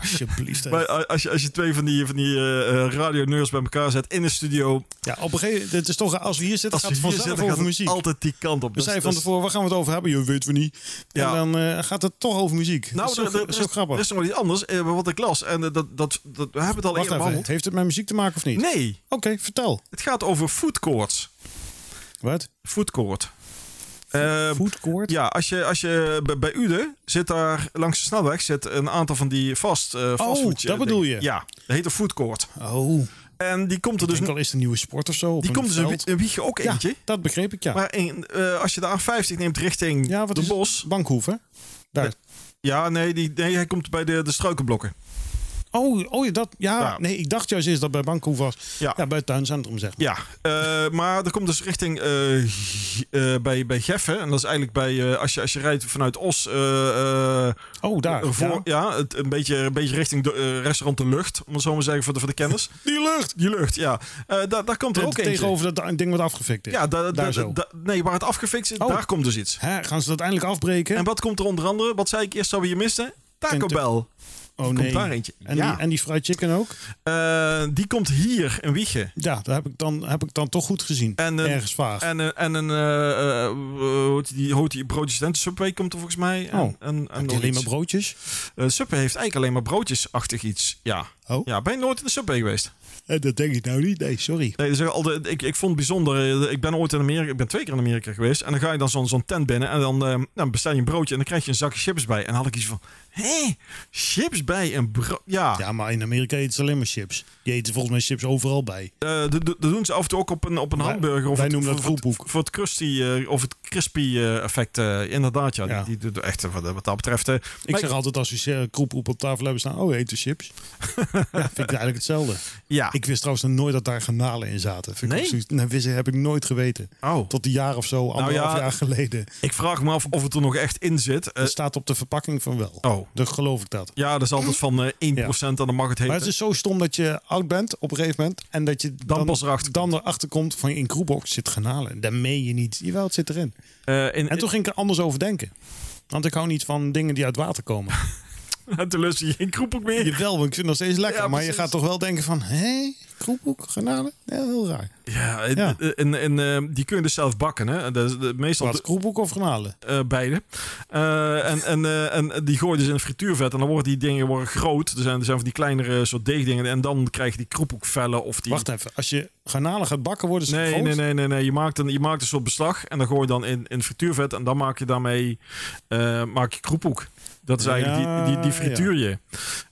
Alsjeblieft. hè.
Maar a- als je, als je twee van die, van die eh eh, radioneurs bij elkaar zet in de studio.
Ja, op een gegeven moment, het is toch, als we hier zitten,
Als
gaat
je
het vanzelf
hier zit, dan
over
gaat het
muziek.
altijd die kant op.
We zeiden van tevoren, waar gaan we het over hebben? Je weet we niet.
Ja.
En dan eh, gaat het toch over muziek.
Nou,
Nou, dat is zo,
er- er- er
zo
is-
grappig.
Er is nog wel iets anders eh, wat ik las. En eh, dat, dat, dat, we hebben het al
Wacht
eerder
even,
behandeld.
heeft het met muziek te maken of niet?
Nee,
Oké, vertel.
het gaat over food courts.
Wat?
Food court. Eh,
Food court?
ja, als je, als je bij, bij Ude zit daar langs de snelweg zit een aantal van die vast eh fastfood, eh,
Oh, dat bedoel
dingen.
je?
Ja, dat heet een food court.
Oh,
En die komt er
dus
dus,
denk al is het een nieuwe sport of zo. op
die
een
komt dus een,
veld.
wie- een wiegje ook eentje.
Ja, dat begreep ik, ja.
Maar in, eh, als je de A50 neemt richting
ja, wat
de
is het?
bos.
Bankhoef, hè? Daar.
Ja, nee, die, nee, hij komt bij de, de struikenblokken.
Oh, oh ja, dat, ja.
Ja.
Nee, ik dacht juist eerst dat bij Bankhoef was.
Ja.
Ja, bij het tuincentrum, zeg maar.
Ja, eh, maar er komt dus richting eh, G- eh, bij, bij Geffen. En dat is eigenlijk bij, eh, als, je, als je rijdt vanuit Os, eh, eh,
Oh, daar.
voor, ja.
ja.
het, een, beetje, een beetje richting de, eh, restaurant De Lucht, om het zo maar te zeggen, voor de, voor de kennis.
Die lucht!
Die Lucht, ja. Eh, daar, daar komt er ook eentje.
Tegenover dat ding wat afgefikt is.
Ja, da- da-
Daar
da-
zo.
da- nee, waar het afgefixt is,
Oh.
daar komt dus iets.
Hè, gaan ze dat eindelijk afbreken?
En wat komt er onder andere? Wat zei ik eerst dat we hier misten? Taco
Tente-
Bell.
oh,
komt daar eentje.
En,
Ja.
die, en die fried chicken ook?
Eh, die komt hier in Wiegen.
Ja, dat heb ik dan, heb ik dan toch goed gezien.
En, eh,
Ergens vaag.
En, een- en een, eh, eh, hoe heet die, hoe heet die broodjes en Subway komt er volgens mij. En,
Oh.
en, en
Heb
nog
je alleen
iets.
maar broodjes?
Eh, Subway heeft eigenlijk alleen maar broodjesachtig iets. Ja.
Oh.
ja, ben je nooit in de Subway geweest?
Eh, Dat denk ik nou niet. Nee, sorry.
Nee, dus al de, ik, ik vond het bijzonder. eh, Ik ben ooit in Amerika, ik ben twee keer in Amerika geweest. En dan ga je dan zo'n zo'n tent binnen en dan, eh, dan bestel je een broodje en dan krijg je een zakje chips bij. En dan had ik iets van, hé, chips bij een brood? Ja,
Ja, maar in Amerika eten ze alleen maar chips. Die eten volgens mij chips overal bij.
Eh, dat dat doen ze af en toe ook op een, op een
Wij-
hamburger. Of
wij
het-
noemen dat
voor- voor het-
voelboek.
Voor het crusty eh, of het crispy eh, effect. eh, inderdaad, ja.
Ja.
Die, die doet echt eh, wat, wat dat betreft. eh,
Ik
maar
zeg altijd als we eh, kroephoep op tafel hebben staan, oh, eten chips. ja, vind ik eigenlijk hetzelfde.
ja.
Ik wist trouwens nog nooit dat daar garnalen in zaten. Vind ik
Nee?
ook zoiets- nee, wist, heb ik nooit geweten.
oh.
Tot een jaar of zo, anderhalf
ja, eh,
jaar geleden.
ik vraag me af of het er nog echt in zit. Eh,
Het staat op de verpakking van wel.
oh.
Dan geloof ik dat.
Ja, dat is altijd van eh, 1% en dan mag het heten.
Maar het is zo stom dat je oud bent op een gegeven moment. En dat je dan,
pas erachter
dan erachter komt van in kroepbox zit garnalen. Daar meen je niet. Jawel, het zit erin.
Eh, in,
En toen ging ik er anders over denken. Want ik hou niet van dingen die uit water komen.
en toen lust je geen kroephoek meer.
Jawel, want ik vind het nog steeds lekker.
Ja,
maar je
precies.
gaat toch wel denken van... Hé, hey, kroephoek, garnalen? Ja, heel raar.
Ja, eh,
Ja.
eh, en, en eh, die kun je dus zelf bakken. Hè? Dat is de, meestal
Wat, kroephoek of garnalen?
eh, beide. Eh, en, en, eh, en die gooi je dus in het frituurvet. En dan worden die dingen worden groot. Er zijn, er zijn van die kleinere soort deegdingen. En dan krijg je die kroephoekvellen of die...
Wacht even, als je garnalen gaat bakken worden ze
Nee,
groot?
nee, nee, nee, nee. Je maakt een, je maakt een soort beslag en dan gooi je dan in, in frituurvet en dan maak je daarmee eh, maak je kroephoek. Dat is eigenlijk
Ja,
die, die, die frituur je.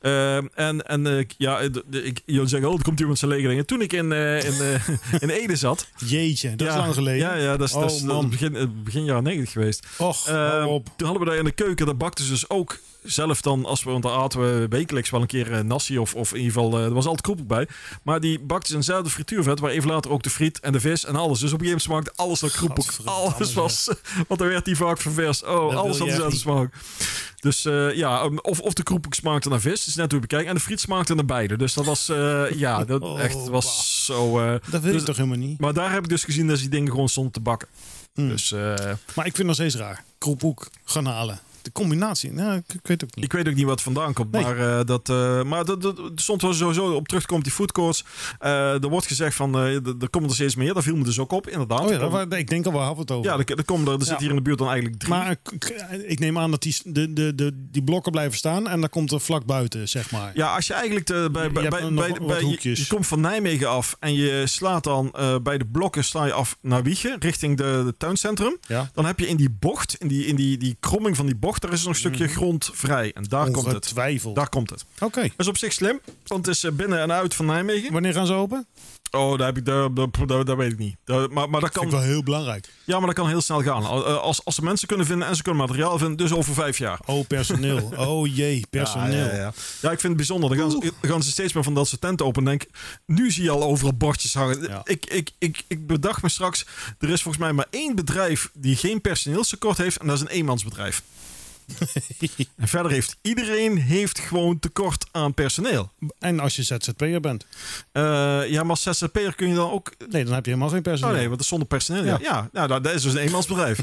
Ehm, en en eh, ik- ja, eh, d- d- ik, jullie zeggen, oh, er komt iemand zijn lege dingen. Toen ik in, eh, in, eh, in Ede zat.
Jeetje, dat is
Ja,
lang geleden.
Ja, ja dat is, dat is,
Oh,
dat is
man.
begin, eh, begin jaren 90 geweest.
Och,
Ehm,
hou op.
toen hadden we daar in de keuken, daar bakten ze dus ook zelf dan, als we, want daar aten we wekelijks wel een keer eh, nasi of, of in ieder geval, eh, er was altijd kroephoek bij. Maar die bakten ze in hetzelfde frituurvet, waar even later ook de friet en de vis en alles. Dus op een gegeven moment smaakte alles naar kroephoek.
Gadverdamme,
Alles was, want er werd die vaak ververs. Oh,
wil
alles
je
had
echt
dezelfde
niet.
smaak. Dus eh, ja, um, of, of de kroephoek smaakte naar vis, dat is net hoe je bekijkt, en de friet smaakte naar beide. Dus dat was, eh, ja, dat
Oh,
echt was zo... eh,
Dat wil
dus-
ik toch helemaal niet?
maar daar heb ik dus gezien
Hmm.
dat ze die dingen gewoon stonden te bakken. Dus eh,
Maar ik vind het nog steeds raar. Kroephoek, garnalen. de combinatie. Nou, ik, ik weet het ook niet.
Ik weet ook niet wat vandaan komt.
Nee.
Maar, eh, dat, eh, maar dat, dat, soms wel sowieso op terugkomt die foodcourts. Eh er wordt gezegd van, eh, d- er komen er steeds meer. Daar viel me dus ook op, inderdaad.
Oh ja, daar wa- ik denk al, waar hadden we het over?
Ja, er, er, komen er, er zit hier in de buurt dan eigenlijk drie.
maar eh, k- k- ik neem aan dat die, s- de, de, de, die blokken blijven staan en dan komt er vlak buiten, zeg maar.
Ja, als je eigenlijk de, bij,
Je
bij,
hebt
bij,
nog
bij-
wat
bij- je,
hoekjes.
je komt van Nijmegen af en je slaat dan eh, bij de blokken sla je af naar Wiegen, richting de, de tuincentrum.
Ja.
Dan heb je in die bocht, in die, in die, die kromming van die bocht, daar is nog een stukje grond vrij. En daar komt het.
Hmm. Ongetwijfeld.
Daar komt het.
Oké.
Dat is op zich slim, want het is eh, binnen en uit van Nijmegen.
Wanneer gaan ze open?
Oh, daar heb ik, daar, daar, daar- daar weet ik niet. Daar- maar, maar dat
Dat vind ik
kan,
wel heel belangrijk.
ja, maar dat kan heel snel gaan. Eh, Als, als ze mensen kunnen vinden en ze kunnen materiaal vinden, dus over vijf jaar.
Oh, personeel. Oh jee, personeel.
Ja, ja, ja. Ja, ik vind het bijzonder. Dan gaan ze, dan gaan ze steeds meer van dat soort tenten open. En denk, nu zie je al overal bordjes hangen.
Ja.
Ik, ik, ik, ik bedacht me straks, er is volgens mij maar één bedrijf die geen personeelstekort heeft. En dat is een eenmansbedrijf. en verder heeft iedereen heeft gewoon tekort aan personeel.
En als je ZZP'er bent.
Eh, ja, maar als zzp'er kun je dan ook...
Nee, dan heb je helemaal geen
Oh
personeel.
nee, want dat is zonder personeel. Ja, ja. nou, dat, dat is dus een eenmansbedrijf.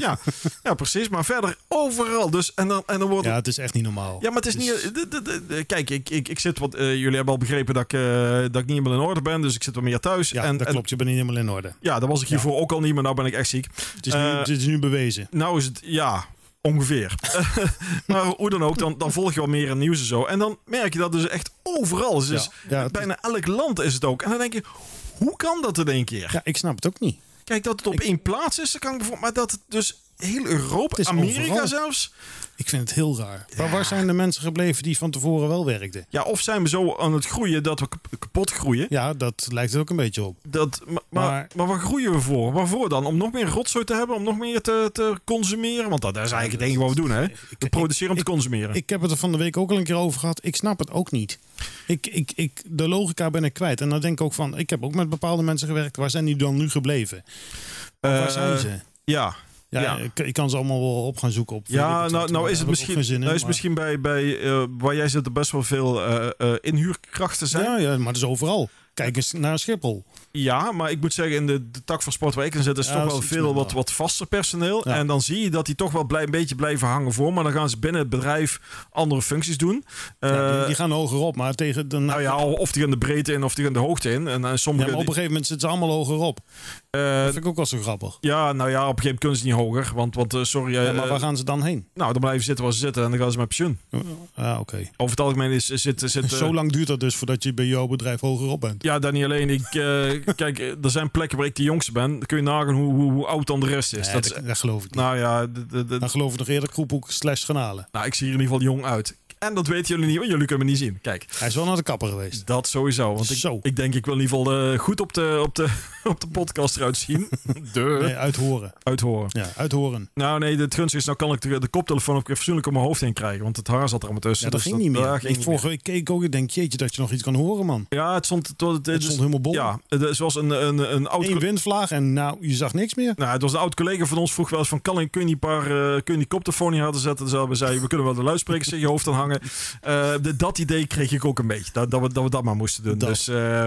ja. ja, precies. Maar verder overal. Dus, en, dan, en dan wordt
Ja, Dus- het is echt niet normaal.
Ja, maar het is niet. d- d- d- d- Kijk, ik, ik, ik zit wat. eh, jullie hebben al begrepen dat ik, eh, dat ik niet helemaal in orde ben. Dus ik zit wat meer thuis.
Ja,
en,
dat
en-
klopt. Je bent niet helemaal in orde.
ja, dat was ik hiervoor ook al niet, maar nou ben ik echt ziek.
Het is, nu,
Eh,
het is nu bewezen.
Nou is het. Ja. Ongeveer. maar hoe dan ook, dan, dan volg je wel meer in nieuws en zo. En dan merk je dat dus echt overal. is. Dus
Ja, het is-
bijna elk land is het ook. En dan denk je, hoe kan dat in één keer?
Ja, ik snap het ook niet.
Kijk, dat het op één plaats is, dat kan ik bijvoorbeeld. Maar dat het dus heel
Het
Europa,
is
Amerika
overal.
zelfs.
Ik vind het heel raar. Maar waar zijn de mensen gebleven die van tevoren wel werkten?
Ja, of zijn we zo aan het groeien dat we kap- kapot groeien.
Ja, dat lijkt er ook een beetje op.
Dat, ma- maar, maar,
Maar-
waar groeien we voor? Waarvoor dan? Om nog meer rotzooi te hebben? Om nog meer te, te consumeren? Want dat, dat is eigenlijk het enige wat we doen, hè? We produceren om te consumeren.
Ik heb het er van de week ook al een keer over gehad. Ik snap het ook niet. Ik, ik, ik, de logica ben ik kwijt. En dan denk ik ook van, ik heb ook met bepaalde mensen gewerkt. Waar zijn die dan nu gebleven?
Eh,
waar zijn ze?
Ja.
Ja,
ja.
Ik, ik kan ze allemaal wel op gaan zoeken. Op
Ja,
weet ik wat,
nou, nou is
daar
het
heb ik ook
misschien,
geen zin in,
nou is
maar-
misschien bij, bij eh, waar jij zit er best wel veel eh, eh, inhuurkrachten zijn. Ja.
Ja, ja, maar dat is overal. Kijk eens naar Schiphol.
maar ik moet zeggen, in de, de tak van sport waar ik in zit is
Ja,
toch
dat is
wel
iets
veel
minder.
wat, wat vaster personeel.
Ja.
En dan zie je dat die toch wel blij, een beetje blijven hangen voor. Maar dan gaan ze binnen het bedrijf andere functies doen.
Ja, die,
Eh,
die gaan hoger op, maar tegen de...
nou ja, of die gaan de breedte in of die gaan de hoogte in. En, en
Ja,
sommige,
maar op een gegeven moment zitten ze allemaal hoger op.
eh,
Dat vind ik ook wel zo grappig.
Ja, nou ja, op een gegeven moment kunnen ze niet hoger. Want, want eh, sorry, eh,
Ja, maar waar gaan ze dan heen?
nou, dan blijven ze zitten waar ze zitten en dan gaan ze met pensioen.
Ah, oké.
Over het algemeen is, zit... zit eh,
Zo lang duurt dat dus voordat je bij jouw bedrijf hoger op bent.
ja, dat niet alleen. Ik, eh, kijk, eh, er zijn plekken waar ik de jongste ben. Dan kun je nagaan hoe, hoe, hoe oud dan de rest is.
Nee,
dat
dat,
is
dat geloof ik niet.
nou ja, d- d- d-
dan geloof ik nog eerder Kroephoek slash Granalen.
nou, ik zie er in ieder geval jong uit. En dat weten jullie niet, want jullie kunnen me niet zien. Kijk,
Hij is wel naar de kapper geweest.
dat sowieso. Want ik,
Zo.
ik denk, ik wil in ieder geval eh, goed op de, op, de, op de podcast eruit zien. De
Nee, uithoren.
uithoren.
Ja, uithoren.
Nou nee, het gunstige is, nou kan ik de, de koptelefoon ook weer fatsoenlijk op mijn hoofd heen krijgen. Want het haar zat er allemaal tussen.
Ja, dat
Dus
ging niet meer.
dat ging
ik, vorige week keek ook, ik denk, jeetje, dat je nog iets kan horen, man.
Ja, het stond, het, was- het,
Het
is-
stond helemaal bol.
dus- Ja, het is- was een, een, een oud.
Eén windvlaag en nou, je zag niks meer.
Nou, het was een oud collega van ons vroeg wel eens van... Kan, kun je die paar, eh, kun je die koptelefoon niet harder zetten? Dus we zeiden, we kunnen wel de luidsprekers in je hoofd aan hangen. Eh, de- dat idee kreeg ik ook een beetje. Dat, dat, we, dat we dat maar moesten doen.
Dat.
Dus eh,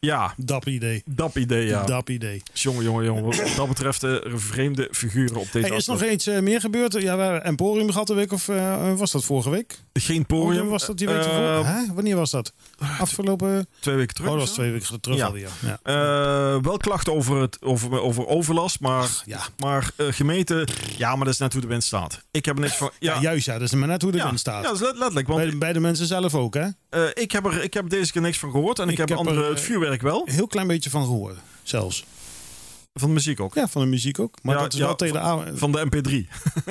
ja,
Dap idee.
dat idee ja.
Dap idee.
Jongen, jongen, jongen. Wat dat betreft eh, vreemde figuren op deze
Hey, is
afloop.
nog iets eh, meer gebeurd? Ja, we hebben Emporium gehad een week of eh, was dat vorige week?
Geen
Emporium
porium.
was dat die week
Eh,
ervoor? Hè? Wanneer was dat? Afgelopen...
Twee weken terug.
Oh, dat
of
was
zo.
twee weken terug
Ja.
alweer. Ja.
Eh, wel klachten over, het, over, over overlast, maar,
ja.
maar eh, gemeten... Ja, maar dat is net hoe de wind staat. Ik heb er niks van...
Ja, juist ja. Dat is maar net hoe de wind staat.
Ja, dat is let- letterlijk. Want
bij, de, bij de mensen zelf ook, hè?
eh, ik, heb er, ik heb deze keer niks van gehoord. En ik,
Ik
heb,
heb er,
andere,
eh,
het vuurwerk wel.
Een heel klein beetje van gehoord, zelfs.
Van de muziek ook.
Ja, van de muziek ook. Maar
Ja,
dat is
ja,
wel tegen de aan-
Van de MP3.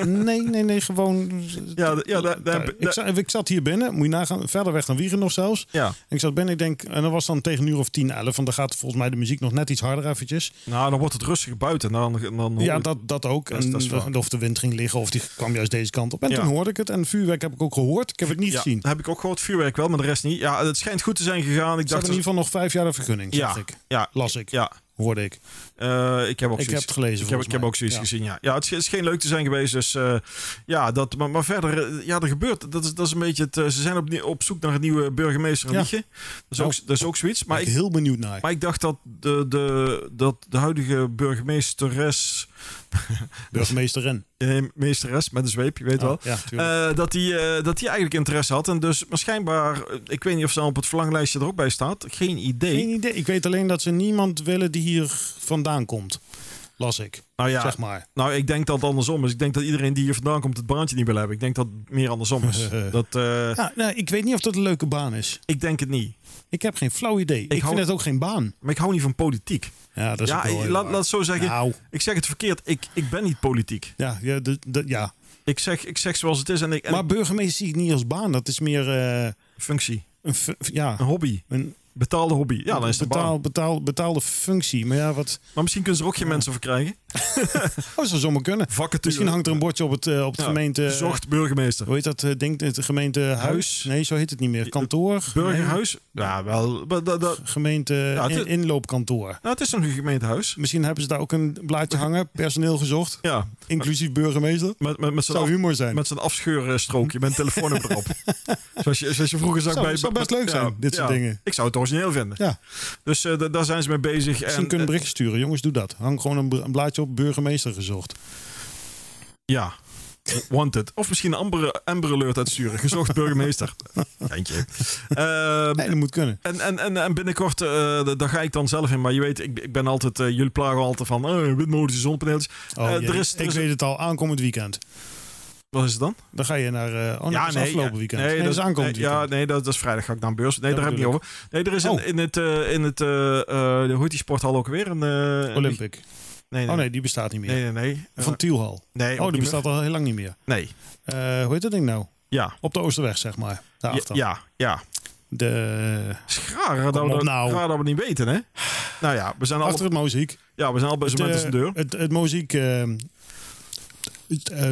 Nee, nee, nee, gewoon...
Ja, de- ja, de- de-
Daar-
de-
ik, zat, ik zat hier binnen, moet je nagaan, verder weg dan Wiegen nog zelfs.
Ja.
En ik zat binnen, ik denk, en dat was dan tegen een uur of tien, elf. Want dan gaat volgens mij de muziek nog net iets harder eventjes.
Nou, dan wordt het rustig buiten. Dan, dan hoor
Ja,
ik-
dat, dat ook.
Dat is-
En
dat is waar.
of de wind ging liggen, of die kwam juist deze kant op. En
Ja.
toen hoorde ik het. En vuurwerk heb ik ook gehoord. Ik heb het niet
ja,
gezien.
dat heb ik ook gehoord. Vuurwerk wel, maar de rest niet. Ja, het schijnt goed te zijn gegaan. Ik
Ze
dacht...
hebben in ieder geval nog vijf jaar de vergunning,
ja,
zag ik.
ja,
Las ik,
ja.
hoorde ik.
Eh, ik heb ook
Ik
zoiets-
heb het gelezen,
Ik heb,
volgens
ik heb
mij.
ook zoiets
Ja.
gezien, ja. Ja, het is, het is geen leuk te zijn geweest. Dus eh, ja, dat, maar, maar verder, eh, ja, er gebeurt. Dat is, dat is een beetje het... eh, ze zijn op, op zoek naar een nieuwe burgemeester in
Ja.
Wijchen. Dat, is
Nou,
ook- dat is ook zoiets. Maar
Maar
ik,
ik ben heel benieuwd naar.
Maar ik dacht dat de, de, dat de huidige burgemeesteres
Burgemeester Ren.
Eh, meesteres met een zweep, je weet
Oh,
wel.
ja, tuurlijk.
Eh, dat hij eh, dat hij eigenlijk interesse had. En dus waarschijnbaar, eh, ik weet niet of ze dan op het verlanglijstje er ook bij staat. Geen idee.
Geen idee. Ik weet alleen dat ze niemand willen die hier vandaan komt. Las ik.
nou ja,
Zeg maar.
nou ik denk dat het andersom is. Ik denk dat iedereen die hier vandaan komt het baantje niet wil hebben. Ik denk dat het meer andersom is. dat, eh,
Ja, nou, ik weet niet of dat een leuke baan is.
Ik denk het niet.
Ik heb geen flauw idee. Ik,
hou-
vind het ook geen baan.
Maar ik hou niet van politiek.
Ja, dat is ook
Ja,
wel
eh,
heel
laat,
waar.
laat het zo zeggen.
Nou,
Ik zeg het verkeerd. Ik, ik ben niet politiek.
ja, ja, de- de- ja.
Ik zeg, ik zeg zoals het is en ik en
maar burgemeester zie ik niet als baan. Dat is meer eh,
ik- functie.
een, fu- ja,
Een hobby.
een
Betaalde hobby. Ja, Nou, dan is het een baan.
betaal, betaal, betaalde functie. Maar ja, wat
Maar misschien kunnen ze er ook geen mensen voor krijgen.
oh, zou zomaar kunnen.
Vacature.
Misschien hangt er een bordje op het, eh, op het
Ja,
gemeente...
Zocht burgemeester.
Hoe heet dat? eh, Denk het gemeentehuis?
Huis.
Nee, zo heet het niet meer. Kantoor?
Burgerhuis? Ja, wel. maar dat- dat-
Nee, gemeente
het
in-
is-
inloopkantoor.
nou, het is nog een gemeentehuis.
Misschien hebben ze daar ook een blaadje hangen. Personeel gezocht.
Ja,
Inclusief burgemeester.
met, met, met zo'n
Zou
af-
humor zijn.
met zo'n afscheurenstrookje met een telefoonnummer op. zoals, je, zoals je vroeger zag
Zou-
bij...
zou best leuk
ja,
zijn, dit soort
ja.
dingen.
Ik zou het origineel vinden.
Ja.
Dus eh, da- daar zijn ze mee bezig.
Misschien
en, eh,
kunnen we berichten sturen. Jongens, doe dat. Hang gewoon een, br- een blaadje op burgemeester gezocht.
eh, ja. Wanted. Of misschien een Amber, Amber Alert uitsturen. Gezocht burgemeester. Eindje. Ehm,
Nee, dat moet kunnen.
En, en, en, en binnenkort, eh, d- daar ga ik dan zelf in. Maar je weet, ik, ik ben altijd, eh, jullie plagen altijd van eh witmodische zonnepaneeltjes.
Oh,
Eh,
jee.
er is, er
ik
is-
weet het al. Aankomend weekend.
Wat is het dan?
Dan ga je naar... eh, oh, nee, dat is afgelopen
ja,
weekend. Nee, dat is aankomend
nee, Ja,
weekend.
nee, dat, dat is vrijdag ga ik naar een beurs. Nee,
Dat
daar heb ik niet
bedoel
over. Nee, er is
Oh.
in, in het, eh, in het eh, eh, hoe heet die sporthal ook weer? Een, eh,
Olympic.
Nee, nee,
Oh nee, die bestaat niet meer.
nee, nee. nee. Eh,
Van Tielhal.
nee, ook
oh, die
niet meer.
bestaat al heel lang niet meer.
Nee,
Eh, hoe heet dat ding nou?
ja.
Op de Oosterweg, zeg maar.
Ja,
Daarachter.
ja, ja.
De,
Het is raar dat, we
Kom op
dat-
nou.
raar dat we het niet weten, hè? Nou ja, we zijn al,
achter het muziek.
ja, we zijn al bij zo'n mensen deur.
het, het muziek... eh, het, eh,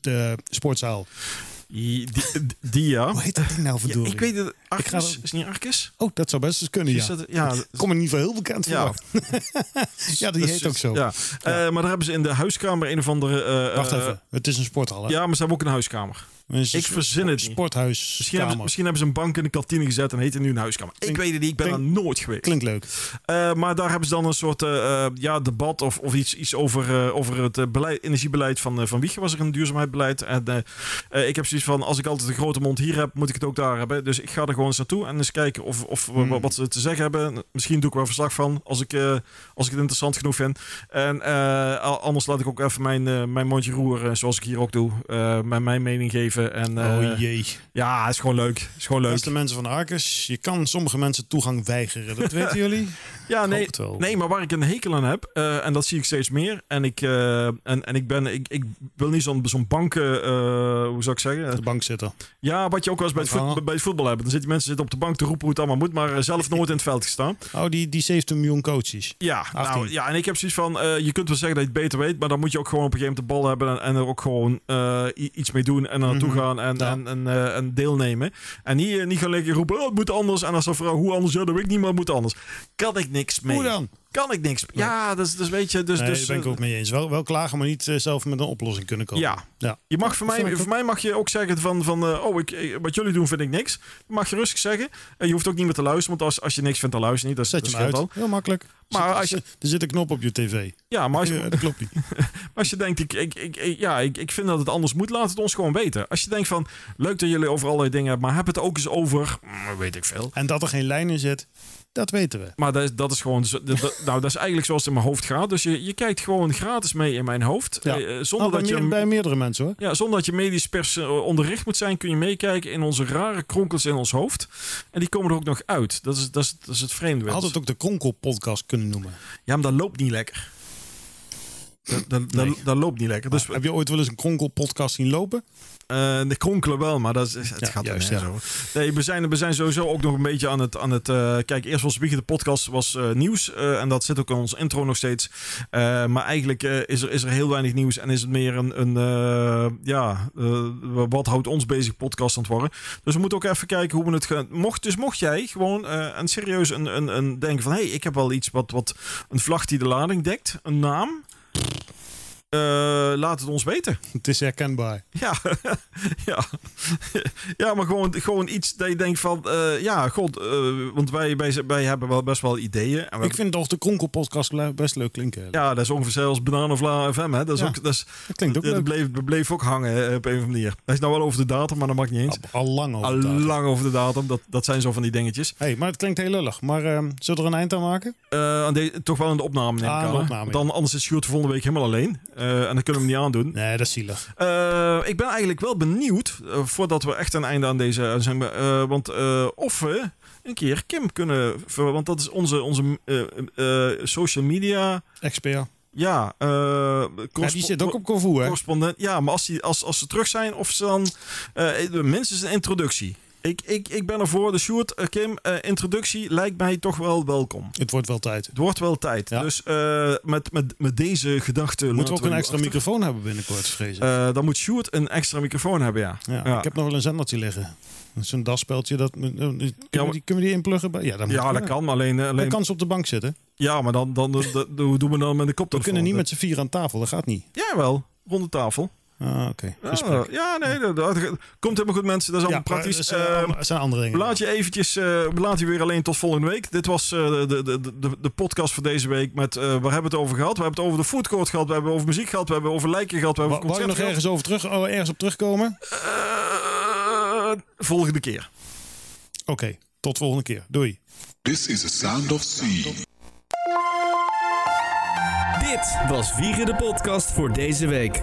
de sportzaal.
Die, die, die, ja.
Hoe heet dat ding nou
Ja,
verdorie?
ik weet het.
Ik ga
Arcus?
dat-
Is het niet Arcus?
Oh, dat zou best eens kunnen,
Is
ja.
dat- ja.
Ik kom er niet veel heel bekend
Ja.
voor. ja, die
Dus-
heet ook zo.
Ja. Eh, maar daar hebben ze in de huiskamer een of andere... eh,
Wacht
eh,
even, het is een sporthal, hè?
Ja, maar ze hebben ook een huiskamer.
Een s-
Ik verzin het niet.
sporthuis.
Misschien hebben, ze, misschien hebben ze een bank in de kantine gezet en heet het nu een huiskamer. Ik
Klink-
weet het niet, ik ben daar
klink-
nooit geweest.
Klinkt leuk.
Eh, maar daar hebben ze dan een soort eh, eh, ja, debat of, of iets, iets over, eh, over het eh, beleid, energiebeleid van, eh, van Wiegen. Was er een duurzaamheidsbeleid? En eh, eh, ik heb zoiets van, als ik altijd een grote mond hier heb, moet ik het ook daar hebben. Dus ik ga er gewoon eens naartoe en eens kijken of, of we-
Hmm.
wat ze te zeggen hebben. Misschien doe ik wel verslag van, als ik, eh, als ik het interessant genoeg vind. En eh, al- anders laat ik ook even mijn, eh, mijn mondje roeren, zoals ik hier ook doe. Eh, mijn, mijn mening geven. En, eh,
oh jee.
ja, is gewoon leuk. Is gewoon leuk.
Beste mensen van Arkes, je kan sommige mensen toegang weigeren. Dat weten jullie?
Ja,
Ik
nee,
hoop het wel.
nee, maar waar ik een hekel aan heb, eh, en dat zie ik steeds meer. En ik, eh, en, en ik, ben, ik, ik wil niet zo'n zo'n banken, eh, hoe zou ik
De
zeggen?
bank zitten.
Ja, wat je ook wel eens bij het,
Ah.
voet- bij het voetbal hebt. Dan zitten mensen zitten op de bank te roepen hoe het allemaal moet, maar eh, zelf nooit in het veld gestaan.
Oh, die, die 17 miljoen coaches.
Ja, nou,
18.
ja, en ik heb zoiets van, eh, je kunt wel zeggen dat je het beter weet, maar dan moet je ook gewoon op een gegeven moment de bal hebben en, en er ook gewoon eh, i- iets mee doen en er naartoe
Mhm.
gaan en,
Ja.
en, en, eh, en deelnemen. En niet, eh, niet gaan liggen roepen, oh, het moet anders. En als dan vooral hoe anders, ja, dat weet ik niet, maar het moet anders. Kan ik niks mee.
Hoe dan?
kan ik niks. Ja, dus, dus weet je, dus,
Nee,
dus
daar ben ik
eh,
ook mee eens. Wel, wel klagen, maar niet eh, zelf met een oplossing kunnen komen.
ja.
Ja.
Je mag voor
snap
mij,
ik
voor mij mag je ook zeggen van, van eh, oh, ik, eh, wat jullie doen vind ik niks. Dat mag je rustig zeggen. En je hoeft ook niet meer te luisteren, want als, als je niks vindt, dan luister je niet. Dat,
Zet
dat
je hem
scheelt
uit.
al.
Heel makkelijk.
Maar
Zit-
als je-
Er zit een knop op je tv.
Ja, maar als je,
Ja, dat klopt niet.
als je denkt, ik, ik, ik, ik- ja, ik, ik vind dat het anders moet, laat het ons gewoon weten. Als je denkt van, leuk dat jullie over allerlei dingen hebben, maar heb het ook eens over, mm, weet ik veel.
En dat er geen lijn in zit, dat weten we.
Maar dat is, dat is gewoon, zo- dat, dat- nou, dat is eigenlijk zoals het in mijn hoofd gaat. Dus je, je kijkt gewoon gratis mee in mijn hoofd.
Ja.
eh, eh, zonder
Nou, bij,
dat je
meer- bij meerdere mensen hoor.
Ja, zonder dat je medisch pers eh, onderricht moet zijn, kun je meekijken in onze rare kronkels in ons hoofd. En die komen er ook nog uit. Dat is, dat is, dat is het vreemde. wel.
Had het ook de Kronkel podcast kunnen noemen.
Ja, maar dat loopt niet lekker. Dat, dat, dat-
Nee.
dat loopt niet lekker. Dus
Heb je ooit wel eens een Kronkel podcast zien lopen?
eh, de kronkelen wel, maar dat is, het
Ja,
gaat er
juist,
niet
ja.
zo. Nee, we zijn, we zijn sowieso ook nog een beetje aan het... Aan het eh, kijk, eerst was Wiegen de podcast was eh, nieuws. eh, en dat zit ook in ons intro nog steeds. Eh, maar eigenlijk eh, is, er, is er heel weinig nieuws. En is het meer een... een eh, ja, eh, wat houdt ons bezig podcast aan het worden. Dus we moeten ook even kijken hoe we het gaan... Mocht, dus mocht jij gewoon eh, en serieus een, een, een denken van... Hé, hey, ik heb wel iets wat, wat... Een vlag die de lading dekt. Een naam. Eh, eh, laat het ons weten.
Het is herkenbaar.
Ja, ja. ja maar gewoon, gewoon iets dat je denkt van... eh, ja, god, eh, want wij, wij, wij hebben wel best wel ideeën. En we-
Ik vind toch de Kronkelpodcast le- best leuk klinken.
ja, dat is ongeveer zelfs Bananenvla FM. Hè? Dat, is
Ja.
ook, dat, is,
Dat klinkt ook
dat
leuk.
bleef, bleef ook hangen eh, op een of andere manier. Hij is nou wel over de datum, maar dat maakt niet eens.
Al lang over.
Al
het datum.
lang over de datum. Dat, dat zijn zo van die dingetjes.
Hey, maar het klinkt heel lullig. Maar ehm zullen we er een eind aan maken?
Eh, aan deze- toch wel in de opname neem ik
Ah,
aan.
de
hè?
opname, ja.
Dan, anders is Sjoerd volgende week helemaal alleen. Eh, en dan kunnen we hem niet aandoen.
Nee, dat is zielig.
Eh, ik ben eigenlijk wel benieuwd, eh, voordat we echt een einde aan deze uitzending... eh want eh, of we een keer Kim kunnen... ver- Want dat is onze, onze eh, eh, social media...
XPA. Ja,
Ja, eh,
die
correspon-
zit ook op Corfu, hè?
correspondent. Ja, maar als, die, als, als ze terug zijn, of ze dan... eh minstens een introductie. Ik, ik, ik ben ervoor. De Sjoerd, eh, Kim, eh, introductie lijkt mij toch wel welkom.
Het wordt wel tijd.
Het wordt wel tijd.
Ja.
Dus eh, met, met, met deze gedachte...
Moeten we ook
laten
een extra
nu achter.
microfoon hebben binnenkort, vrees ik.
Eh, dan moet Sjoerd een extra microfoon hebben, ja.
ja,
ja.
Ik heb nog wel een zendertje liggen. Dat is Zo'n daspeltje. Dat, eh, eh, kunnen,
maar-
we die, kunnen we die inpluggen? bij- Ja, dat, moet
Ja, dat
kunnen.
kan. Alleen, eh,
Dan
alleen
kan ze op de bank zitten.
ja, maar dan, dan, dan, dan- hoe doen we dan met de
We
koptelefoon?
kunnen niet met z'n vier aan tafel. Dat gaat niet.
Ja, wel. Rond de tafel.
Ah, oké.
Ja,
Gesprek.
ja, nee, dat, dat- komt helemaal goed, mensen. Dat is allemaal
maar
praktisch.
dat zijn,
Ehm,
allemaal- dat zijn andere dingen.
Laat je eventjes, eh, we laten je weer alleen tot volgende week. Dit was eh, de, de, de, de, de podcast voor deze week met, eh, waar hebben we het over gehad? We hebben het over de foodcourt gehad, we hebben het over muziek gehad, we hebben het over lijken gehad, we hebben
Wa-
over
Wou je nog
concerten
ergens, over terug, oh, ergens op terugkomen? Oké,
gehad. Eh, volgende keer.
tot volgende keer. Doei.
This is the sound of sea.
Dit was Wiegen de Podcast voor deze week.